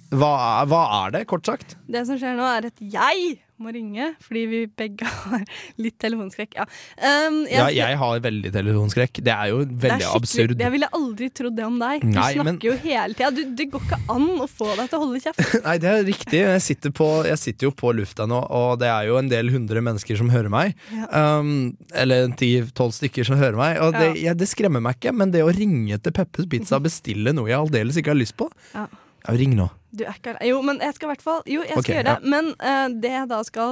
hva, er- hva er det, kort sagt? Det som skjer nå, er at jeg må ringe, fordi vi begge har litt telefonskrekk. Ja. Um, Ja, jeg har veldig telefonskrekk. Det er jo det er veldig skikkelig- absurd. Jeg ville aldri trodd det om deg. Du Nei, snakker men- jo hele tida. Du- Det går ikke an å få deg til å holde kjeft. Nei, det er riktig. Jeg sitter, på, jeg sitter jo på lufta nå, og det er jo en del hundre mennesker som hører meg. Um, eller ti-tolv stykker som hører meg. Og det, jeg, det skremmer meg ikke, men det å ringe til Peppers Pizza og bestille noe jeg aldeles ikke har lyst på Ja. ja, Ring nå. Du er ikke alene. Jo, men jeg skal i hvert fall Jo, jeg skal Ok, gjøre det. Men eh, det jeg da skal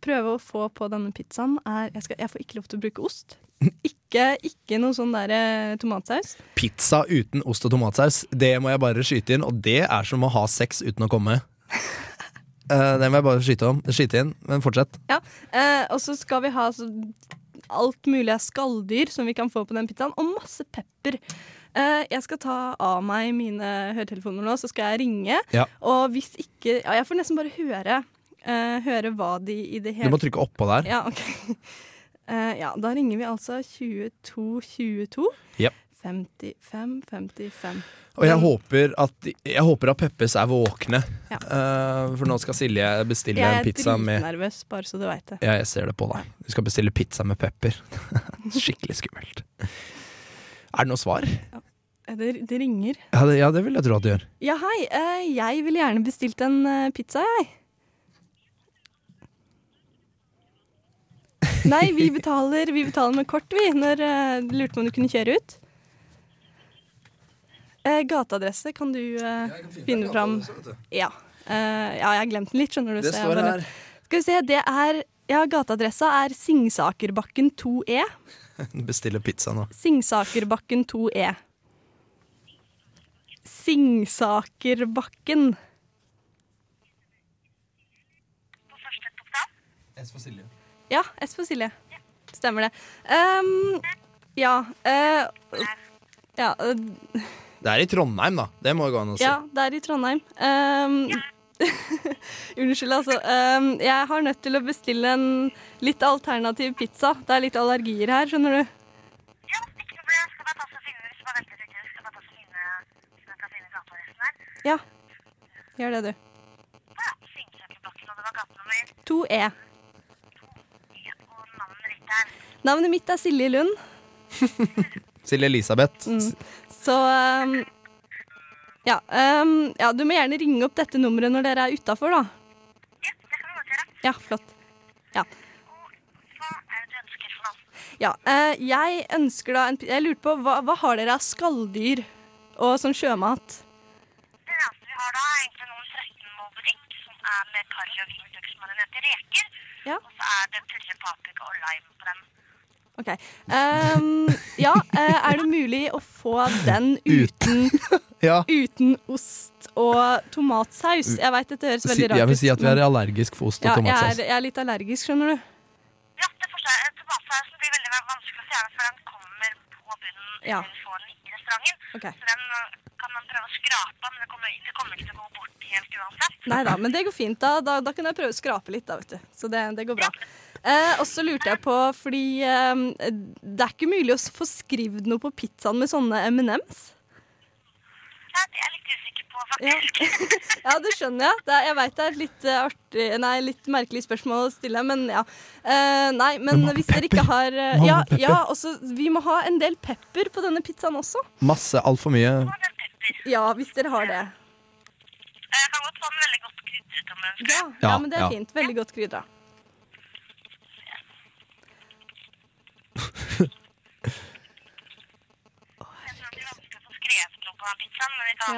prøve å få på denne pizzaen, er jeg, skal, jeg får ikke lov til å bruke ost. Ikke, ikke noe sånn der eh, tomatsaus. Pizza uten ost og tomatsaus, det må jeg bare skyte inn, og det er som å ha sex uten å komme. Eh, det må jeg bare skyte, om, skyte inn, men fortsett. Ja. Eh, og så skal vi ha så, alt mulig av skalldyr som vi kan få på den pizzaen, og masse pepper. Eh, jeg skal ta av meg mine høretelefoner nå, så skal jeg ringe. Ja. Og hvis ikke ja, Jeg får nesten bare høre, eh, høre hva de i det Du hele må trykke oppå der. Ja, ok. Eh, ja, da ringer vi altså 2222. Jep. 55 55. Og jeg håper at, jeg håper at Peppes er våkne, Mm. Ja. Eh, for nå skal Silje bestille jeg en pizza med er dritnervøs, bare så du veit det. Ja, jeg ser det på deg. Du skal bestille pizza med pepper. Skikkelig skummelt. Er det noe svar? Eh, Det, det ringer. Ja, det, ja, det vil jeg tro at det gjør. Ja, hei. eh, jeg ville gjerne bestilt en eh, pizza, jeg. Nei, vi betaler, vi betaler med kort, vi. Når eh, du lurte på om du kunne kjøre ut. Eh, gateadresse kan du eh, finne fram. Ja. Eh, ja, jeg har glemt den litt, skjønner du. Det så jeg står bare- her. Skal vi se, det er Ja, gateadressa er Singsakerbakken 2E. Bestille pizza nå. Singsakerbakken E. 2E. Singsakerbakken. S for Silje. Ja, S for Silje. Stemmer det. Ehm, ja eh, Ja, eh, Det er i Trondheim, da. Det må jo gå an å si. ja, det er i Trondheim. Ehm, Unnskyld, altså. Ehm, jeg har nødt til å bestille en litt alternativ pizza. Det er litt allergier her, skjønner du. Ja. Gjør det, du. 2E. E, Navnet mitt er Silje Lund. Silje Elisabeth. Mm. Så um, ja, um, ja, du må gjerne ringe opp dette nummeret når dere er utafor, da. Ja, flott. Ja. Ja, eh, jeg ønsker da en pi- Jeg lurte på, hva, hva har dere av skalldyr og sånn sjømat? Ja. OK. Um, ja, eh, er det mulig å få den uten, Ja. uten ost og tomatsaus? Jeg veit dette høres Si, veldig rart ut. jeg vil si at vi er men- allergisk for ost og ja, jeg tomatsaus. er, jeg er litt allergisk, skjønner du. Ja. Okay. Nei da, men det går fint. Da, da, da kan jeg prøve å skrape litt, da, vet du. Så det, det går bra. Eh, og så lurte jeg på, fordi eh, det er ikke mulig å s- få skrevet noe på pizzaen med sånne M&M's? Ja. ja, det skjønner jeg. Det er, jeg veit det er et litt eh, artig Nei, litt merkelig spørsmål å stille, men ja. Eh, nei, men hvis dere ikke har eh, Må ha Ja, pepper. ja også, vi må ha en del pepper på denne pizzaen også. Masse, altfor mye. Ja, hvis dere har det. Jeg kan godt få den veldig godt krydret. Ja, ja, Ja, men det er ja. fint. Veldig godt krydra. Ja.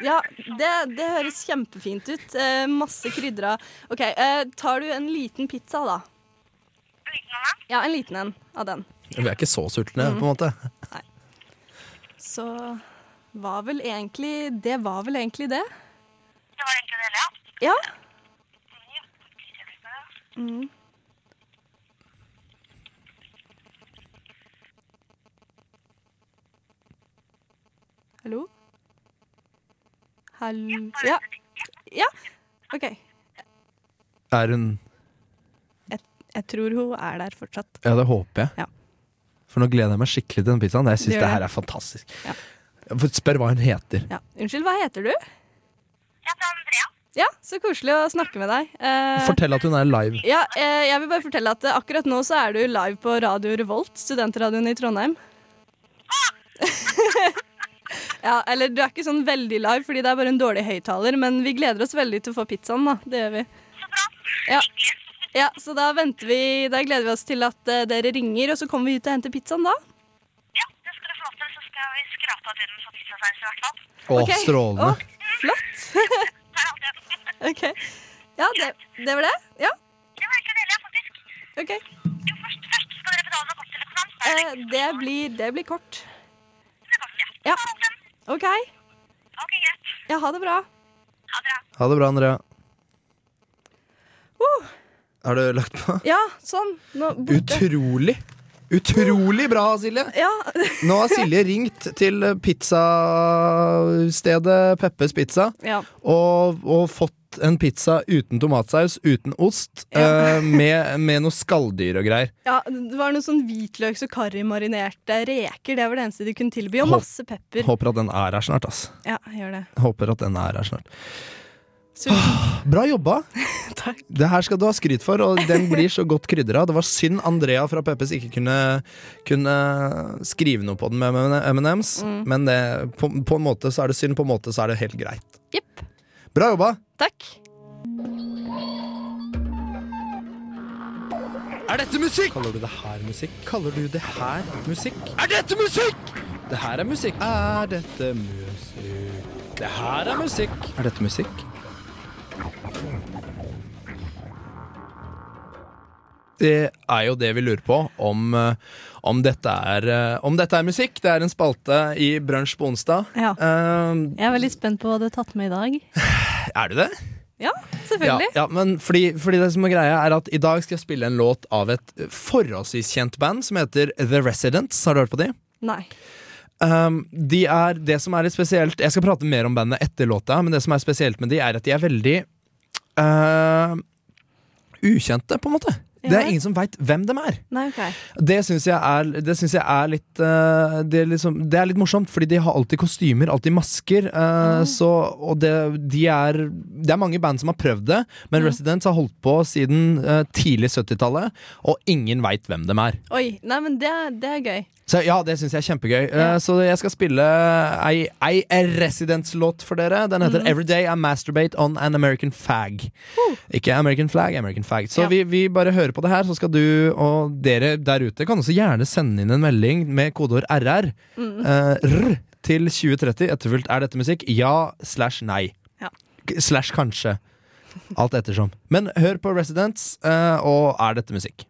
ja, det, det høres kjempefint ut. Eh, masse krydra. OK, eh, tar du en liten pizza, da? Ja, en liten en av den. Vi er ikke så sultne, Mm. på en måte. Så var vel egentlig Det var vel egentlig det? Det var egentlig det, ja. Mm. Hallo? Hallo Ja. ja. OK. Er hun Jeg, jeg tror hun er der fortsatt. Ja, det håper jeg. Ja. For nå gleder jeg meg skikkelig til den pizzaen. Jeg Det syns gjør det her det. er fantastisk. Ja. For Spør hva hun heter. Ja. Unnskyld, hva heter du? Jeg heter Andrea. Ja, Så koselig å snakke med deg. Eh, Fortell at hun er live. Ja, eh, jeg vil bare fortelle at eh, akkurat nå så er du live på Radio Revolt, studentradioen i Trondheim. ja, eller du er ikke sånn veldig live, fordi det er bare en dårlig høyttaler, men vi gleder oss veldig til å få pizzaen, da. Det gjør vi. Ja. ja, så da venter vi Da gleder vi oss til at eh, dere ringer, og så kommer vi ut og henter pizzaen da. Å, Ok. strålende. Å, flott. OK. Ja, det, det var det. Ja. OK. Eh, det, blir, det blir kort. Ja. OK. Ja, ha det bra. Ha det bra, Andrea. Uh, Har du lagt på? ja, sånn. Nå, borte. Utrolig! Utrolig bra, Silje! Ja. Nå har Silje ringt til pizzastedet Peppes Pizza Ja. og, og fått en pizza uten tomatsaus, uten ost, eh, med, med noe skalldyr og greier. Ja, det var noe sånn hvitløks- og karrimarinerte reker. Det var det eneste de kunne tilby. Og Håp- masse pepper. Håper at den er her snart, ass. Ja, gjør det. Håper at den er her snart. Ah, Sulten. Bra jobba! Det her skal du ha skryt for, og den blir så godt krydra. Det var synd Andrea fra Peppes ikke kunne, kunne skrive noe på den med M&M's, Mm. men det, på, på en måte så er det synd, på en måte så er det helt greit. Bra jobba! Takk. Er dette musikk? Kaller du det her musikk? Kaller du det her musikk? Er dette musikk? Det her er musikk. Er dette musikk? Det her er musikk. Er dette musikk? Det er jo det vi lurer på, om, eh, om, dette, er, eh, om dette er musikk. Det er en spalte i Brunsj på onsdag. Ja. Eh, Jeg er veldig spent på hva du har tatt med i dag. er du det? Ja, selvfølgelig. Ja, ja men fordi, fordi det som er greia er at I dag skal jeg spille en låt av et forholdsvis kjent band som heter The Residents. Har du hørt på de? Nei. Um, de er det som er litt spesielt Jeg skal prate mer om bandet etter låta, men det som er spesielt med de, er at de er veldig uh, ukjente, på en måte. Det Ja. er ingen som veit hvem dem er. Nei, ok. Det syns jeg er, det synes jeg er litt eh, det er, liksom, det er litt morsomt, fordi de har alltid kostymer, alltid masker. eh, så, og det, de er, det er mange band som har prøvd det, men Residents har holdt på siden eh, tidlig 70-tallet, og ingen veit hvem dem er. Oi, nei, men det, er- det er gøy. Så ja, det syns jeg er kjempegøy. Eh, Så jeg skal spille ei, ei Residence-låt for dere. Den heter Mm. 'Every Day I Masturbate On An American Fag'. Ikke American Flag, American Fag. Så Ja. vi, vi bare hører på det her, så skal du og dere der ute kan også gjerne sende inn en melding med kodeord RR. Mm. eh, rr til 2030, etterfulgt 'Er dette musikk?' Ja slash nei. Ja. K- Slash kanskje. Alt ettersom. Men hør på Residents eh, og 'Er dette musikk?'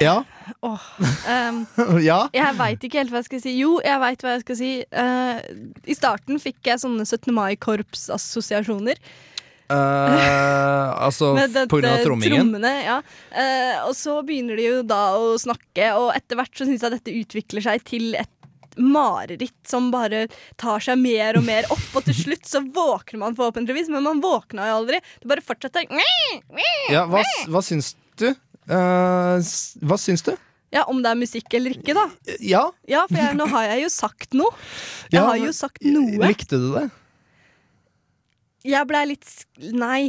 Ja. Um, ja. Jeg veit ikke helt hva jeg skal si. Jo, jeg veit hva jeg skal si. Eh, I starten fikk jeg sånne 17. mai-korpsassosiasjoner. Eh, altså Med dette på grunn av trommingen. Trommene, ja. Eh, og så begynner de jo da å snakke, og etter hvert så syns jeg dette utvikler seg til et mareritt som bare tar seg mer og mer opp, og til slutt så våkner man forhåpentligvis, men man våkna jo aldri. Det bare fortsetter. Ja, hva, s- hva syns du? Eh, s- hva syns du? Ja, om det er musikk eller ikke, da. Ja. Ja, for jeg, nå har jeg jo sagt noe. Jeg Ja, har men- jo sagt noe. Likte du det? Jeg blei litt sk- Nei,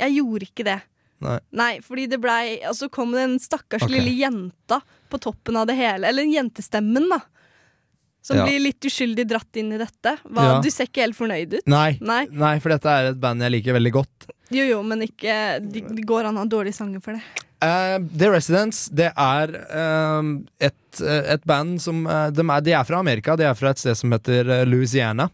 jeg gjorde ikke det. Nei. Nei, fordi det blei Og så kom det en stakkars Ok. lille jenta på toppen av det hele. Eller jentestemmen, da. Som Ja. blir litt uskyldig dratt inn i dette. Ja. Hva, Du ser ikke helt fornøyd ut. Nei. Nei. for dette er et band jeg liker veldig godt. Jo, jo, men ikke Det det går an å ha dårlige sanger for det. Eh, The Residents det er eh, et, eh, et band som eh, de, er, de er fra Amerika. De er fra et sted som heter eh, Louisiana.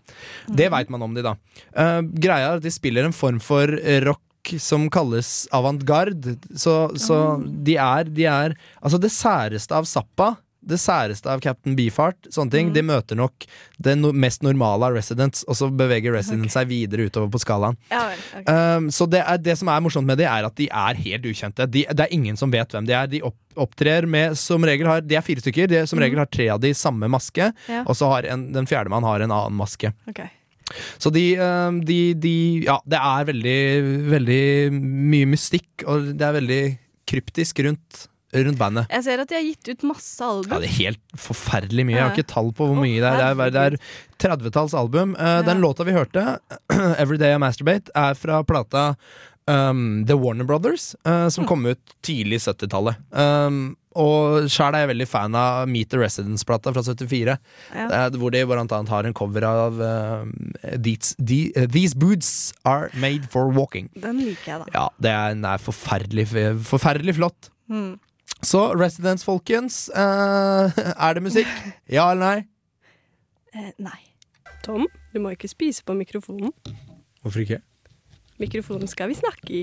Det veit man om de, da. Eh, greia er at de spiller en form for rock som kalles avantgarde. Så, så de er, de er Altså, det særeste av Zappa det særeste av Captain Beefheart, sånne ting, de møter nok det no mest normale av Residents, og så beveger Residents seg videre utover på skalaen. Ja vel. ok. Um, så det, er, det som er morsomt med de, er at de er helt ukjente. De, det er ingen som vet hvem de er. De opp, opptrer med som regel har, De er fire stykker. De, som regel har tre av de samme maske, Ja. og så har en, den fjerde mann har en annen maske. Ok. Så de, um, de, de Ja, det er veldig, veldig mye mystikk, og det er veldig kryptisk rundt, rundt bandet. Jeg ser at de har gitt ut masse album. Ja, det er helt forferdelig mye. Jeg har Ja. ikke tall på hvor mye det er. Det er, det er 30-talls album. Eh, Den låta vi hørte, 'Every Day I Masturbate', er fra plata um, The Warner Brothers, eh, Hm. som kom ut tidlig 70-tallet. Um, og sjæl er jeg veldig fan av Meet the Residence-plata fra 74, Ja. eh, hvor de blant annet har en cover av eh, These, the, eh, These Boots Are Made for Walking. Den liker jeg, da. Ja, det er, den er forferdelig, forferdelig flott. Mm. Så Residence, folkens. eh, er det musikk? Ja eller nei? Eh, nei. Tom, du må ikke spise på mikrofonen. Hvorfor ikke? Mikrofonen skal vi snakke i,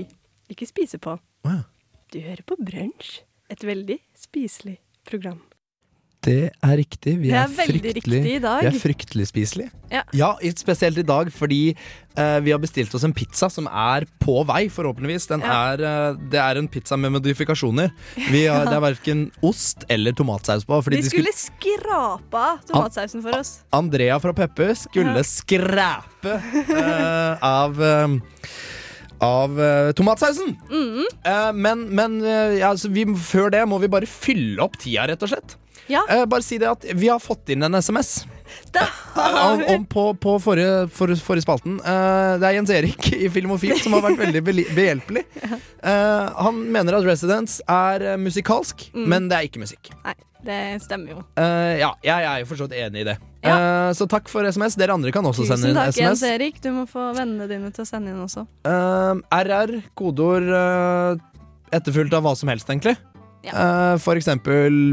ikke spise på. Wow. Du hører på Brunsj, et veldig spiselig program. Det er riktig. Vi Det er, er veldig fryktelig, riktig i dag. Vi er fryktelig spiselige. Ja. i- spesielt i dag fordi eh, vi har bestilt oss en pizza som er på vei, forhåpentligvis. Den er, eh, det er en pizza med modifikasjoner. Vi har, Det er verken ost eller tomatsaus på. Fordi de de skulle- skulle skrape av tomatsausen for oss. Andrea fra Peppe Ja. skulle skræpe eh, av eh, av eh, tomatsausen. Mm. Eh, men men eh, ja, altså, vi, før det må vi bare fylle opp tida, rett og slett. Ja. Eh, bare si det at vi har fått inn en SMS. har eh, om, om på, på forrige, for, forrige spalten. Eh, det er Jens Erik i Filmofil som har vært veldig beli- behjelpelig. Eh, han mener at Residence er eh, musikalsk, Mm. men det er ikke musikk. Nei, det stemmer jo. Eh, ja, jeg er jo for så vidt enig i det. Eh, så takk for SMS. Dere andre kan også sende Tusen inn takk, Jens SMS. Erik. Du må få vennene dine til å sende inn også. Eh, RR, kodeord uh, etterfulgt av hva som helst, egentlig. Eh, for eksempel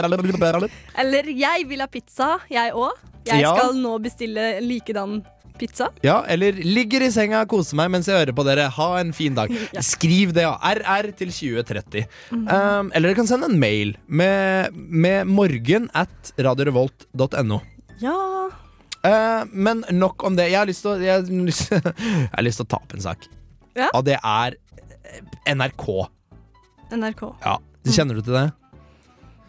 Eller jeg vil ha pizza, jeg òg. Jeg Ja. skal nå bestille likedan pizza. Ja, eller ligger i senga, koser meg mens jeg hører på dere. Ha en fin dag. Skriv det, ja. RR til 2030. Mm. Um, eller dere kan sende en mail med, med morgen at radiorevolt.no. Ja. Eh, men nok om det. Jeg har lyst til å Jeg, har lyst- jeg har lyst til å ta opp en sak. Ja. Og det er eh, NRK. NRK. Ja, Kjenner du til det?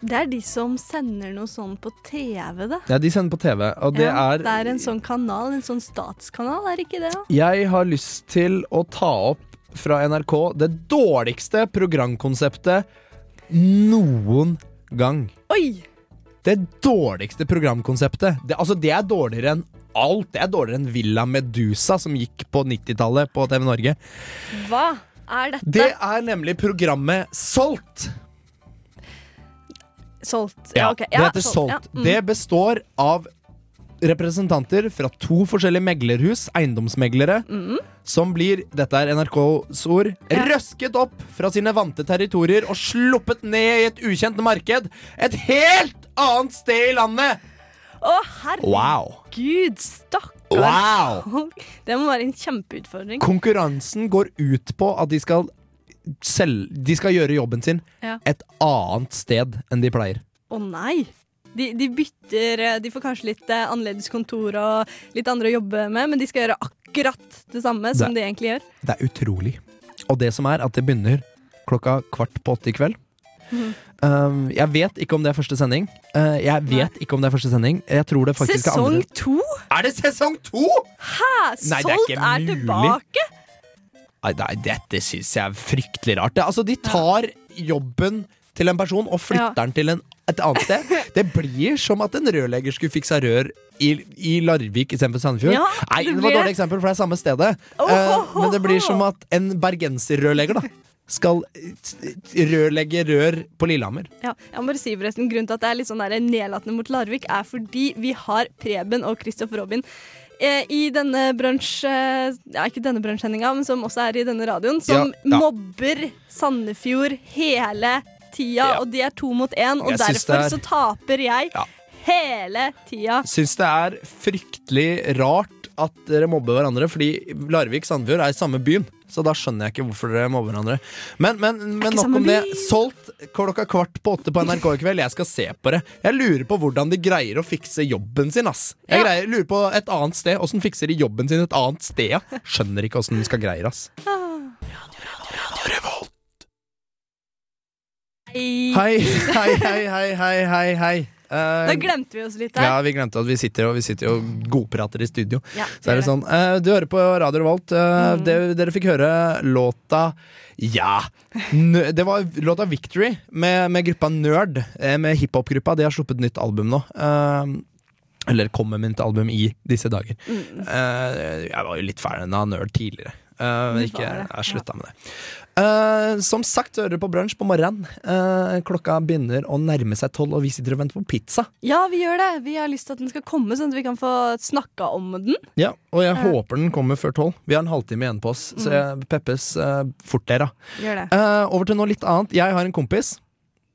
Det er de som sender noe sånn på TV, da. Ja, De sender på TV, og det Ja, er det er en sånn kanal, en sånn statskanal, er det ikke det? da? Jeg har lyst til å ta opp fra NRK det dårligste programkonseptet noen gang. Oi! Det dårligste programkonseptet. Det, altså, det er dårligere enn alt. Det er dårligere enn Villa Medusa, som gikk på 90-tallet på TV Norge. Hva er dette? Det er nemlig programmet Solgt. Solgt. Ja, Ja, ok. Ja, det heter Solgt. Ja. Mm. Det består av representanter fra to forskjellige meglerhus, eiendomsmeglere, Mm. som blir, dette er NRKs ord, røsket opp fra sine vante territorier og sluppet ned i et ukjent marked et helt annet sted i landet! Å, herregud, Wow. stakkars Wow. folk. Det må være en kjempeutfordring. Konkurransen går ut på at de skal, selv, de skal gjøre jobben sin Ja. et annet sted enn de pleier. Å nei! De, de bytter eh, De får kanskje litt eh, annerledes kontor og litt andre å jobbe med, men de skal gjøre akkurat det samme som Det- de egentlig gjør. Det er utrolig. Og det som er at det begynner klokka kvart på åtte i kveld. Mhm. Um, jeg vet ikke om det er første sending. Uh, jeg vet ikke om det er første sending. Jeg tror det faktisk er Sesong andre. to? Er det sesong to?! Hæ? Nei, det er Solgt ikke er, mulig. tilbake? Nei, nei, dette syns jeg er fryktelig rart. Det, altså, de tar jobben til en person og flytter Ja. den til en, et annet sted. Det blir som at en rørlegger skulle fiksa rør i, i Larvik istedenfor Sandefjord. Ja, nei, det det var et blir- dårlig eksempel, for det er samme stedet. Eh, men det blir som at en bergenserrørlegger da skal eh, rørlegge rør på Lillehammer. Ja, jeg må bare si forresten Grunnen til at det er litt sånn der nedlatende mot Larvik, er fordi vi har Preben og Kristoffer Robin. eh, I denne bransj... eh, Ja, ikke denne bransjesendinga, men som også er i denne radioen. Som Ja, ja. mobber Sandefjord hele tida, og de er to mot én. Og Jeg synes derfor det er- så taper jeg hele tida. Syns det er fryktelig rart at dere mobber hverandre, fordi Larvik Sandefjord er i samme byen. Så da skjønner jeg ikke hvorfor dere mobber hverandre. Men, men, men nok om det. Solgt klokka kvart på åtte på NRK i kveld. Jeg skal se på det. Jeg lurer på hvordan de greier å fikse jobben sin, ass. Jeg greier, lurer på et annet sted. Åssen fikser de jobben sin et annet sted? ja? Skjønner ikke åssen de skal greie det, ass. Hei, hei, hei, hei, hei, hei, hei. Eh, Da glemte vi oss litt ja, her. vi glemte at vi sitter og, vi sitter jo og godprater i studio. Ja, så er det sånn eh, Du hører på Radio Revolt. eh, Mm. det, dere fikk høre låta Ja! Nø- det var låta Victory med, med gruppa Nerd. eh, med hiphopgruppa. De har sluppet nytt album nå. Eh, eller kommer med nytt album i disse dager. Mm. Eh, jeg var jo litt fan av Nerd tidligere. Eh, men Du ikke, var det, jeg slutta med det. Eh, som sagt, hører dere på brunsj på morgenen. Eh, klokka begynner å nærme seg tolv, og vi sitter og venter på pizza. Ja, vi gjør det. Vi har lyst til at den skal komme, sånn at vi kan få snakka om den. Ja, og jeg Ja. håper den kommer før tolv. Vi har en halvtime igjen på oss, så jeg peppes eh, fort dere. Gjør det. Eh, over til noe litt annet. Jeg har en kompis.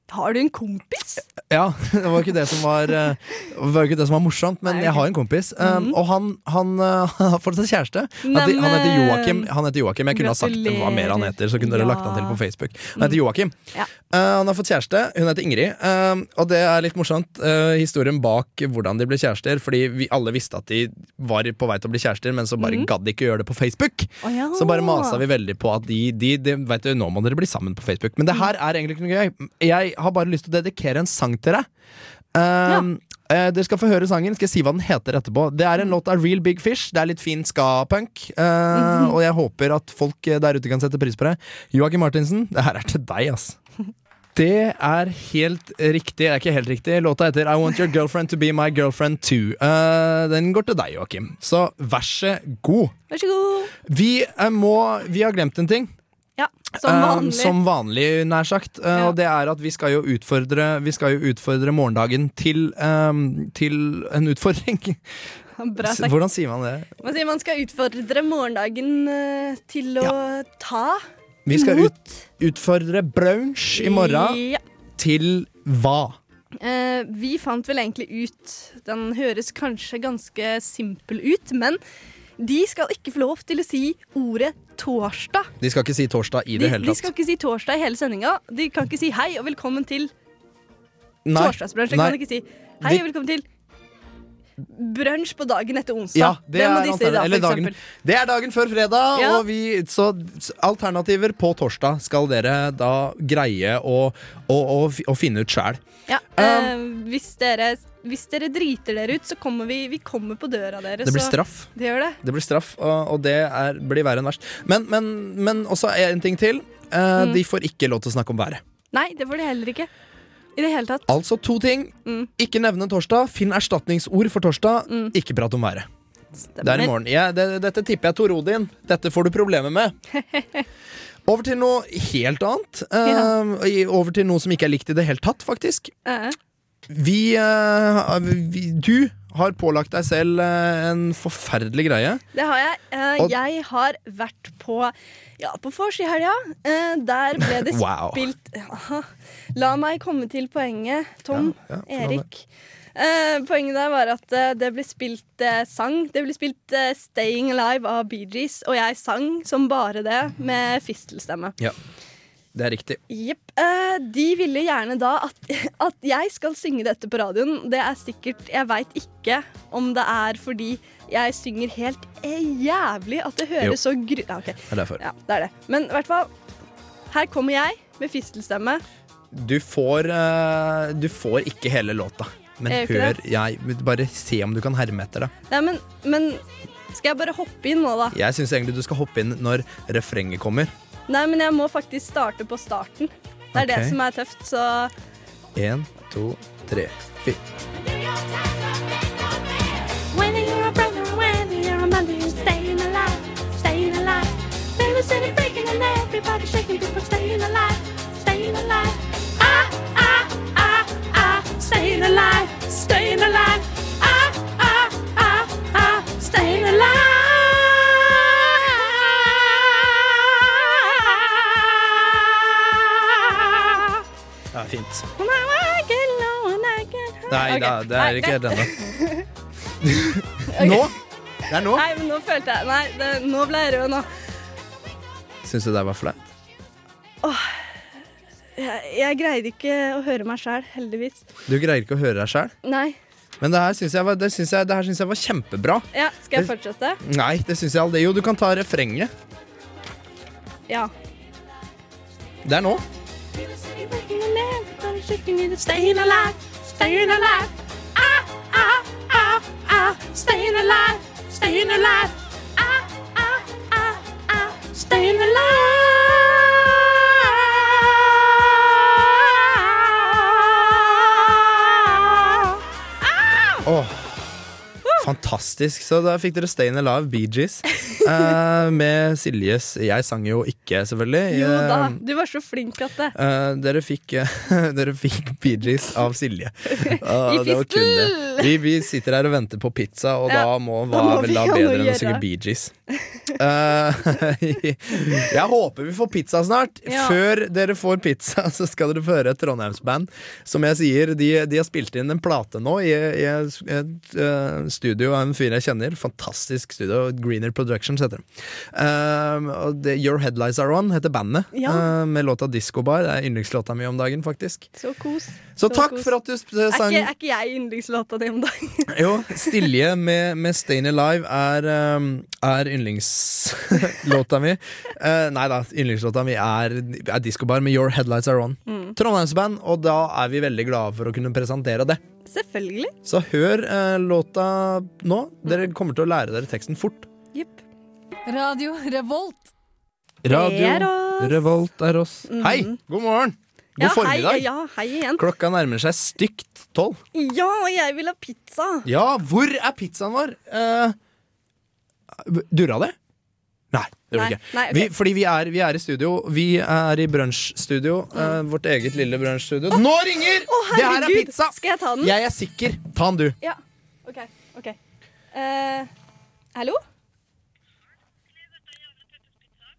Har du en kompis? Ja, det var jo ikke det som var, eh, var, jo ikke det som var morsomt, men jeg har en kompis. eh, Og han, han eh, har fått seg kjæreste. Han heter- han heter Neimen. Joakim. Han heter Joakim. Jeg kunne ha sagt hva mer han heter, så kunne dere Ja. lagt han til på Facebook. Han heter Joakim. Eh, han har fått kjæreste. Hun heter Ingrid. eh, og det er litt morsomt, eh, historien bak hvordan de ble kjærester. Fordi vi alle visste at de var på vei til å bli kjærester, men så bare Mhm. gadd de ikke gjøre det på Facebook. Å ja. Så bare masa vi veldig på at de, de, de vet du, Nå må dere bli sammen på Facebook. Men det her er egentlig ikke noe gøy. Jeg har bare lyst til å dedikere en sang til deg. Um, eh, dere skal få høre sangen. Skal jeg si hva den heter etterpå. Det er en låt av Real Big Fish. Det er litt fin ska-punk. eh, Og jeg håper at folk eh, der ute kan sette pris på det. Joakim Martinsen, det her er til deg, ass. Det er helt riktig. Det er ikke helt riktig. Låta heter I Want Your Girlfriend To Be My Girlfriend Too. Eh, den går til deg, Joakim. Så vær så god. Vær så god. Vi, eh, må, vi har glemt en ting. Ja, som Eh, vanlig. som vanlig, nær sagt. Eh, Og det er at vi skal jo utfordre, vi skal jo utfordre morgendagen til, eh, til en utfordring. Bra S- sagt. Hvordan sier man det? Man sier man skal utfordre morgendagen eh, til å ta Vi skal ut, utfordre brunsj i morgen Ja. til hva? Eh, vi fant vel egentlig ut Den høres kanskje ganske simpel ut, men de skal ikke få lov til å si ordet torsdag. De skal ikke si torsdag i det de, hele de tatt. skal ikke si torsdag i hele sendinga. De kan ikke si hei og velkommen til Nei. torsdagsbrunsj. De Nei. kan ikke si hei De- og velkommen til brunsj på dagen etter onsdag. Ja, det må er, de si alternativet. da, for Eller dagen, eksempel. det er dagen før fredag, Ja. og vi, så s- alternativer på torsdag skal dere da greie å, å, å, fi- å finne ut sjæl. Ja, Um, eh, hvis, dere, hvis dere driter dere ut, så kommer vi, vi kommer på døra deres. Det blir så- straff. Det gjør det. Det blir straff, og, og det er, blir verre enn verst. Men, men, men også en ting til. Eh, Mm. De får ikke lov til å snakke om været. Nei, det får de heller ikke. I det hele tatt. Altså to ting. Mm. Ikke nevne torsdag. Finn erstatningsord for torsdag. Ikke prat om været. Det er i morgen. Ja, det, dette tipper jeg Tor Odin. Dette får du problemer med. Over til noe helt annet. Eh, i- Over til noe som ikke er likt i det hele tatt, faktisk. Eh, Vi, eh, vi Du har pålagt deg selv eh, en forferdelig greie. det har jeg. Eh, Og- jeg har vært på Ja, på vors i helga. Eh, der ble det Wow. spilt ja. La meg komme til poenget, Tom, Ja, ja, få la Erik. Eh, poenget der var at eh, det ble spilt eh, sang. Det ble spilt eh, 'Staying Alive' av Bee Gees, og jeg sang som bare det, med fistelstemme. Ja, det er riktig. Jepp. Eh, de ville gjerne da at, at jeg skal synge dette på radioen. Det er sikkert Jeg veit ikke om det er fordi jeg synger helt eh, jævlig at det høres Jo. så gru... Ja, ok. Det er derfor. Ja, det er det. Men i hvert fall, her kommer jeg med fistelstemme. Du får, eh, du får ikke hele låta. Men Jeg gjør hør ikke jeg, Bare se om du kan herme etter det. Nei, men, men skal jeg bare hoppe inn nå, da? Jeg syns egentlig du skal hoppe inn når refrenget kommer. Nei, men jeg må faktisk starte på starten. Det er det Ok. som er tøft, så Én, to, tre, fire. Whether you're a brother or whether you're a mother, you're staying alive, staying alive. Baby city breaking and everybody shaking, people staying alive, staying alive. Ah, ah, ah, ah, staying alive, staying alive. Ah, ah, ah, ah, staying alive. Det er fint. When I work alone, I can- Nei da, det er Nei, ikke helt det- ennå. Nå Det er nå. Nei, men nå følte jeg Nei, det, nå ble jeg rød nå. Syns du det var flaut? Jeg, jeg greide ikke å høre meg sjæl, heldigvis. Du greier ikke å høre deg sjæl? Nei. Men det her syns jeg, var- det syns jeg, det her syns jeg var kjempebra. Ja, skal jeg Det- fortsette? Nei, det syns jeg aldri. Jo, du kan ta refrenget. Ja. Det er nå. Staying alive, staying alive. Ah, ah, ah, ah. Staying alive, staying alive. Ah, ah, ah, ah. Staying alive. Åh. Fantastisk. Så da fikk dere Stayin' Alive, Bee Gees. eh, med Siljes Jeg sang jo ikke, selvfølgelig. Jo da, Eh, du var så flink at det. eh, dere fikk, eh, dere fikk Bee Gees av Silje. Ah, I det var kun fistel! det. Vi, vi sitter her og venter på pizza, og Ja, da må da hva må vel vi da ha noe bedre enn å å synge gjøre. Bee Gees. Eh, jeg håper vi får pizza snart. Ja. Før dere får pizza, så skal dere få høre et trondheimsband. Som jeg sier, de, de har spilt inn en plate nå i, i et eh, studio av en fyr jeg kjenner. Fantastisk studio. Greener Productions heter det. Eh, og det. Your Headlights Are On heter bandet, Ja. eh, med låta Disco Bar. Det er yndlingslåta mi om dagen, faktisk. Så kos. Så takk for at du sp- eh, er sang- ikke, er ikke jeg yndlingslåta di om dagen? Jo, Stilje med, med Stayin' Alive er, um, er yndlingslåta mi. Eh, nei da, yndlingslåta mi er, er diskobar med Your Headlights Are On. Mm. Trondheimsband, og da er vi veldig glade for å kunne presentere det. Selvfølgelig. Så hør eh, låta nå. Mm. Dere kommer til å lære dere teksten fort. Radio Revolt. Det er oss. Revolt er oss. Mhm. Hei, god morgen! God Ja, formiddag. Hei, ja, hei igjen. Klokka nærmer seg stygt tolv. Ja, og jeg vil ha pizza. Ja, hvor er pizzaen vår? Eh, Durra det? Nei, det gjorde Nei, det ikke. nei, ok. vi, fordi vi er, vi er i studio. Vi er i brunsjstudio. eh, vårt eget lille brunsjstudio. Nå ringer! Å, det her er herregud! pizza! Skal jeg ta den? Jeg er sikker. Ta den, du. Ja, ok, ok. Eh, hallo?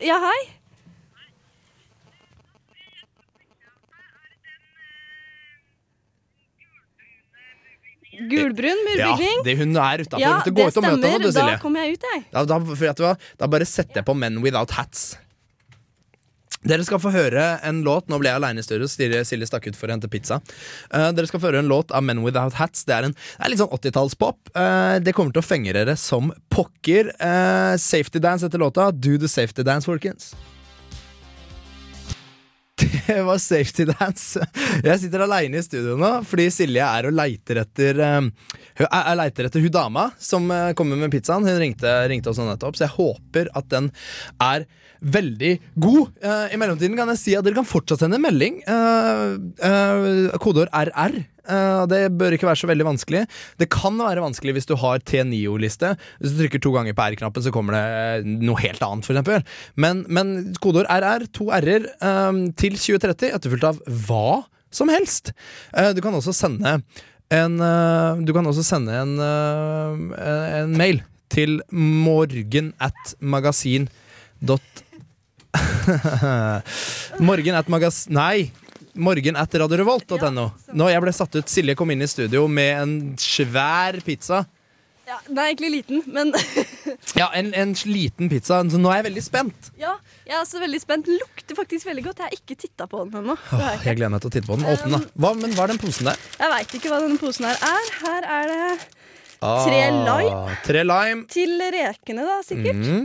Ja, hei. Gulbrun murbygning? Ja, det hun er utafor. Ja, du gå ut og møte henne, du, Da Silje. kommer jeg ut, jeg. Da, da, for vet du hva? da bare setter jeg på Men Without Hats. Dere skal få høre en låt Nå ble jeg alene i studio, så Silje, Silje stakk ut for å hente pizza. Eh, dere skal få høre en låt av Men Without Hats. Det er, en, det er litt sånn 80-tallspop. Eh, det kommer til å fenge dere som pokker. Eh, safety dance etter låta. Do the safety dance, folkens. Det var safety dance. Jeg sitter aleine i studio nå fordi Silje er og leiter etter eh, Hun er- er leiter etter hun dama som eh, kommer med pizzaen. Hun ringte, ringte oss nå nettopp, så jeg håper at den er veldig god. Eh, I mellomtiden kan jeg si at dere kan fortsatt sende en melding. Eh, eh, Kodeord RR. Eh, det bør ikke være så veldig vanskelig. Det kan være vanskelig hvis du har T9-liste. Hvis du trykker to ganger på R-knappen, så kommer det eh, noe helt annet, f.eks. Men, men kodeord RR, to R-er, eh, til 2030, etterfulgt av hva som helst. Eh, du kan også sende en eh, Du kan også sende en, eh, en mail til morgen at magasin dot Morgen at magas... Nei. Morgen at radiorevolt.no. Nå jeg ble satt ut. Silje kom inn i studio med en svær pizza. Ja, den er egentlig liten, men Ja, en, en liten pizza. Så nå er jeg veldig spent. ja, jeg er så veldig spent. Den lukter faktisk veldig godt. Jeg har ikke titta på den ennå. Det har jeg Åh, ikke. Um, jeg gleder meg til å titte på den. Åpne den, da. Hva, men hva er den posen der? Jeg veit ikke hva denne posen her er. Her er det Tre lime. Ah, Tre lime. til rekene, da, sikkert. Mm.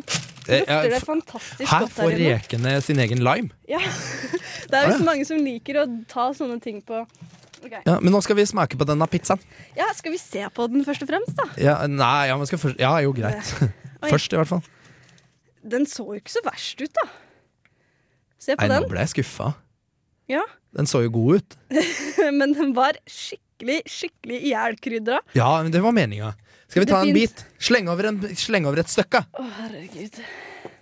Eh, ja, Lukter det f- fantastisk Her godt får her inne. rekene sin egen lime. Ja. Det er jo så mange som liker å ta sånne ting på Ok. Ja, men nå skal vi smake på denne pizzaen. Ja, skal vi se på den først og fremst, da? Ja, nei, ja, man skal først, ja jo, greit. Oi. Først, i hvert fall. Den så jo ikke så verst ut, da. Se på Nei, nå den. ble jeg skuffa. Ja. Den så jo god ut. Men den var skikkelig, skikkelig ihjelkrydra. Ja, men det var meninga. Skal vi ta en Det finnes- bit? Slenge over, en, slenge over et stykke. Å, herregud.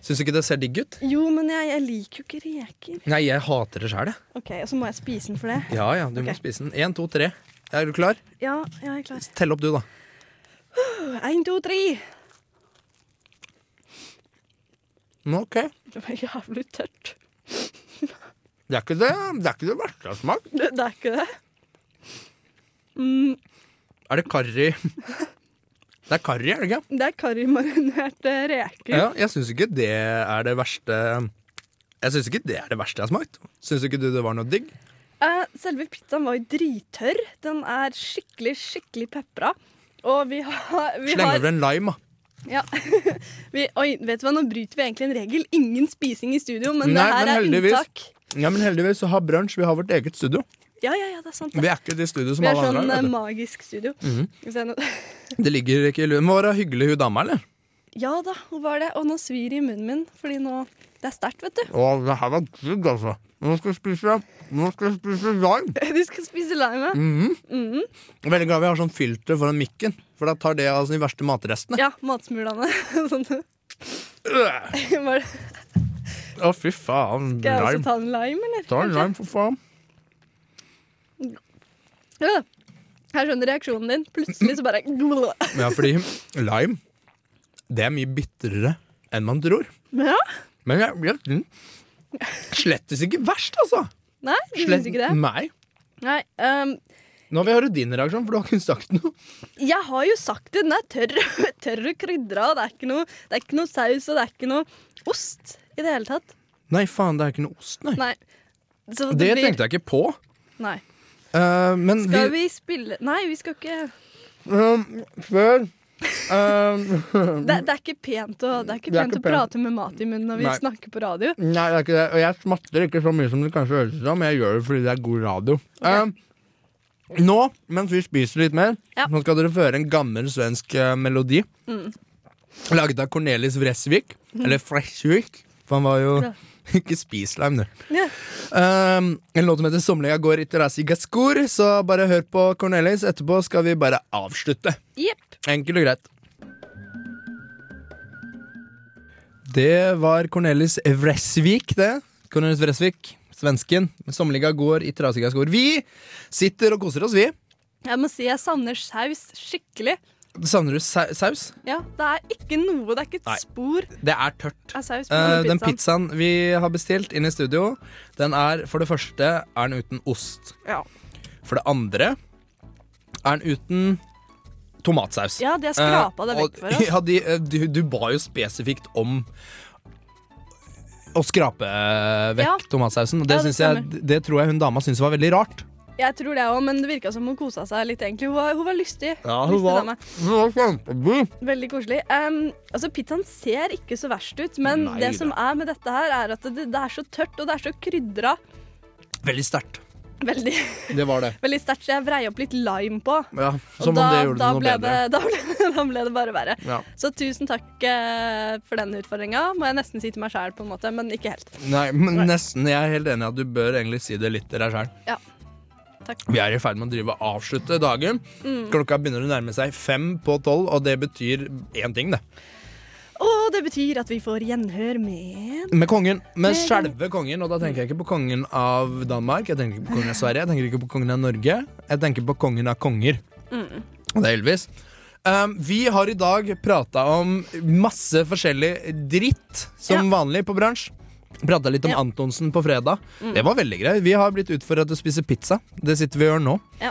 Syns du ikke det ser digg ut? Jo, men jeg, jeg liker jo ikke reker. Nei, jeg hater det sjæl, jeg. OK, og så må jeg spise den for det. Ja ja, du må spise den. Én, to, tre. Er du klar? Ja, ja, jeg er klar. Tell opp du, da. Én, to, tre. Nå, ok. Det var jævlig tørt. Det er ikke det, det, er ikke det verste jeg har smakt. Det, det er ikke det. Mm, Er det karri Det er karri, er det ikke? Det er karrimarinerte reker. Ja, jeg syns ikke det er det verste Jeg synes ikke det er det verste jeg har smakt. Syns ikke du det var noe digg? Eh, selve pizzaen var jo drittørr. Den er skikkelig, skikkelig pepra. Og vi har, vi Sleng har over en lime, da. ja. vi, Oi, vet du hva, nå bryter vi egentlig en regel. Ingen spising i studio, men Nei, det her er heldigvis- unntak. Ja, men heldigvis så har Brunch vi har vårt eget studio. Ja, ja, ja, det er sant. Vi er ikke det studioet som Vi er alle andre sånn har. eh, vet magisk studio. Mhm. Skal vi se nå- du. Det ligger ikke i luen. Må være hyggelig hun dama, eller? Ja da, hun var det. Og nå svir det i munnen min, fordi nå Det er sterkt, vet du. Å, det her var digg, altså. Nå skal jeg spise Nå skal jeg spise lime. Du skal spise lime. Mhm. Mhm. Veldig glad vi har sånn filter foran mikken, for da tar det av altså, de verste matrestene. Ja, matsmulene. sånn. Var det- Å, fy faen. Skal jeg også Lime. ta en lime, eller? Ta en Kanskje? lime, for faen. Ja. Her skjønner reaksjonen din. Plutselig så bare Ja, fordi lime Det er mye bitrere enn man tror. Ja? Men jeg, jeg mm. Slettes ikke verst, altså. Nei, du syns ikke det? Nei. Nei, ehm, Nå vil jeg høre din reaksjon, for du har ikke sagt noe. jeg har jo sagt det. Den er tørr, tørr og krydra. og Det er ikke noe Det er ikke noe saus, og det er ikke noe ost i det hele tatt. Nei, faen, det er ikke noe ost, nei. Nei. Så Det tenkte jeg ikke på. Nei. Eh, men Skal vi spille Nei, vi skal ikke Um, før um, Det, det er ikke pent å, det er ikke Det er pent ikke å pent. prate med mat i munnen når vi Nei. snakker på radio. Nei, det er ikke det. Og jeg smatter ikke så mye som det kanskje høres ut som. Jeg gjør det fordi det er god radio. Um, nå, mens vi spiser litt mer, Ja. nå skal dere få høre en gammel svensk eh, melodi. Mm. Laget av Cornelis Vresvik. Mhm. Eller Fresvik, for han var jo Ja. ikke spis lime, du. Ja. Um, en låt som heter 'Somliga går ikke ras i gaskor', så bare hør på Cornelis. Etterpå skal vi bare avslutte. Jepp. Enkelt og greit. Det var Cornelis Vresvik, det. Cornelis Vresvik, svensken. Sommerliga går i trasiga skor. Vi sitter og koser oss, vi. Jeg må si jeg savner saus skikkelig. Savner du sa saus? Ja, Det er ikke noe, det er ikke Nei. et spor Det er tørt. av saus på Eh, denne den pizzaen. pizzaen vi har bestilt inn i studio, den er for det første er den uten ost. Ja. For det andre er den uten tomatsaus. Ja, de har skrapa Eh, det og- vekk for oss. Ja, de, eh, du, du ba jo spesifikt om å skrape eh, vekk Ja. tomatsausen. Og det, Ja, det synes jeg, det tror jeg hun dama syntes var veldig rart. Jeg tror det òg, men det virka som hun kosa seg litt. egentlig Hun var, hun var lystig. lystig dame. Veldig koselig. Em, altså, Pizzaen ser ikke så verst ut, men Nei det da. som er med dette her, er at det, det er så tørt og det er så krydra. Veldig sterkt. Veldig, Det var det. veldig sterkt, så jeg vrei opp litt lime på. Ja, Og som da, om det gjorde da det noe ble bedre. Det, da, ble, da ble det bare verre. Ja. Så tusen takk eh, for den utfordringa. Må jeg nesten si til meg sjæl, på en måte, men ikke helt. Nei, men nesten. Jeg er helt enig i at du bør egentlig si det litt til deg sjøl. Ja. Takk. Vi er i ferd med å drive og avslutte dagen. Mm. Klokka begynner å nærme seg fem på tolv, og det betyr én ting, det. Og det betyr at vi får gjenhør med Med kongen. Med Med selve kongen, og da tenker jeg ikke på kongen av Danmark, jeg tenker ikke på kongen av Sverige, jeg tenker ikke på kongen av Norge. Jeg tenker på kongen av konger, mm. og det er Elvis. Um, vi har i dag prata om masse forskjellig dritt, som vanlig på bransj. Prata litt om Antonsen på fredag. Mm. Det var veldig greit. Vi har blitt utfordra til å spise pizza. Det sitter vi og gjør nå. Ja.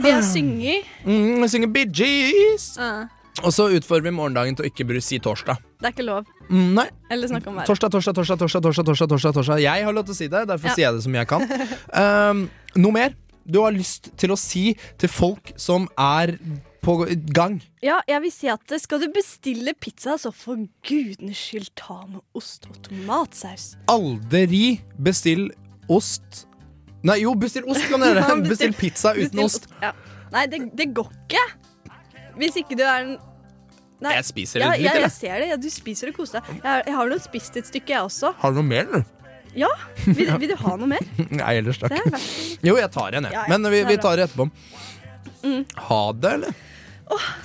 Vi har synget. Mm, vi synger Bee Gees. Eh, Og så utfordrer vi morgendagen til å ikke bry- si torsdag. det er ikke lov. Mm, nei. Eller snakke om været. Torsdag, torsdag, torsdag, torsdag, torsdag, torsdag, torsdag, torsdag. Jeg har lov til å si det, derfor Ja. sier jeg det som jeg kan. Um, noe mer du har lyst til å si til folk som er på gang? Ja, jeg vil si at eh, skal du bestille pizza, så for gudenes skyld ta med ost og tomatsaus. Aldri bestill ost. Nei, jo, bestill ost kan dere Ja, gjøre. Bestill pizza uten bestill ost. Ja. Nei, det, det går ikke. Hvis ikke du er en Nei. Jeg spiser ja, litt dritt, ja, jeg eller? ser det. Ja, du spiser og koser deg. Jeg, jeg har nå spist et stykke, jeg også. Har du noe mer, eller? Ja, vil, vil du ha noe mer? Nei, ellers Det takk. er verst. Jo, jeg tar en, jeg. Ja, ja, Men vi, det er vi bra. tar det etterpå. Mm. Ha det, eller?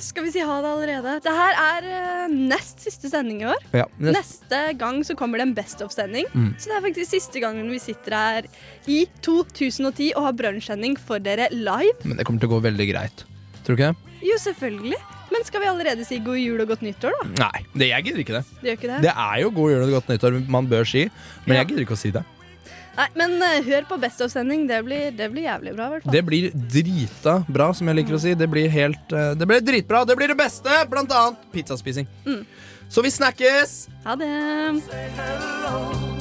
Skal vi si ha det allerede? Det her er eh, nest siste sending i år. Ja. Neste gang så kommer det en Best of-sending. Mm. Så det er faktisk siste gangen vi sitter her i 2010 og har brunsjsending for dere live. Men det kommer til å gå veldig greit. Tror du ikke det? Jo, selvfølgelig. Men skal vi allerede si god jul og godt nyttår, da? Nei, det, jeg gidder ikke det. Det gjør ikke det? Det er jo god jul og godt nyttår man bør si, men jeg gidder ikke å si det. Nei, men eh, hør på Best of-sending. Det blir, det blir jævlig bra, i hvert fall. Det blir drita bra, som jeg liker å si. Det blir helt eh, Det blir dritbra. Det blir det beste, blant annet pizzaspising. Mm. Så vi snakkes! Ha det.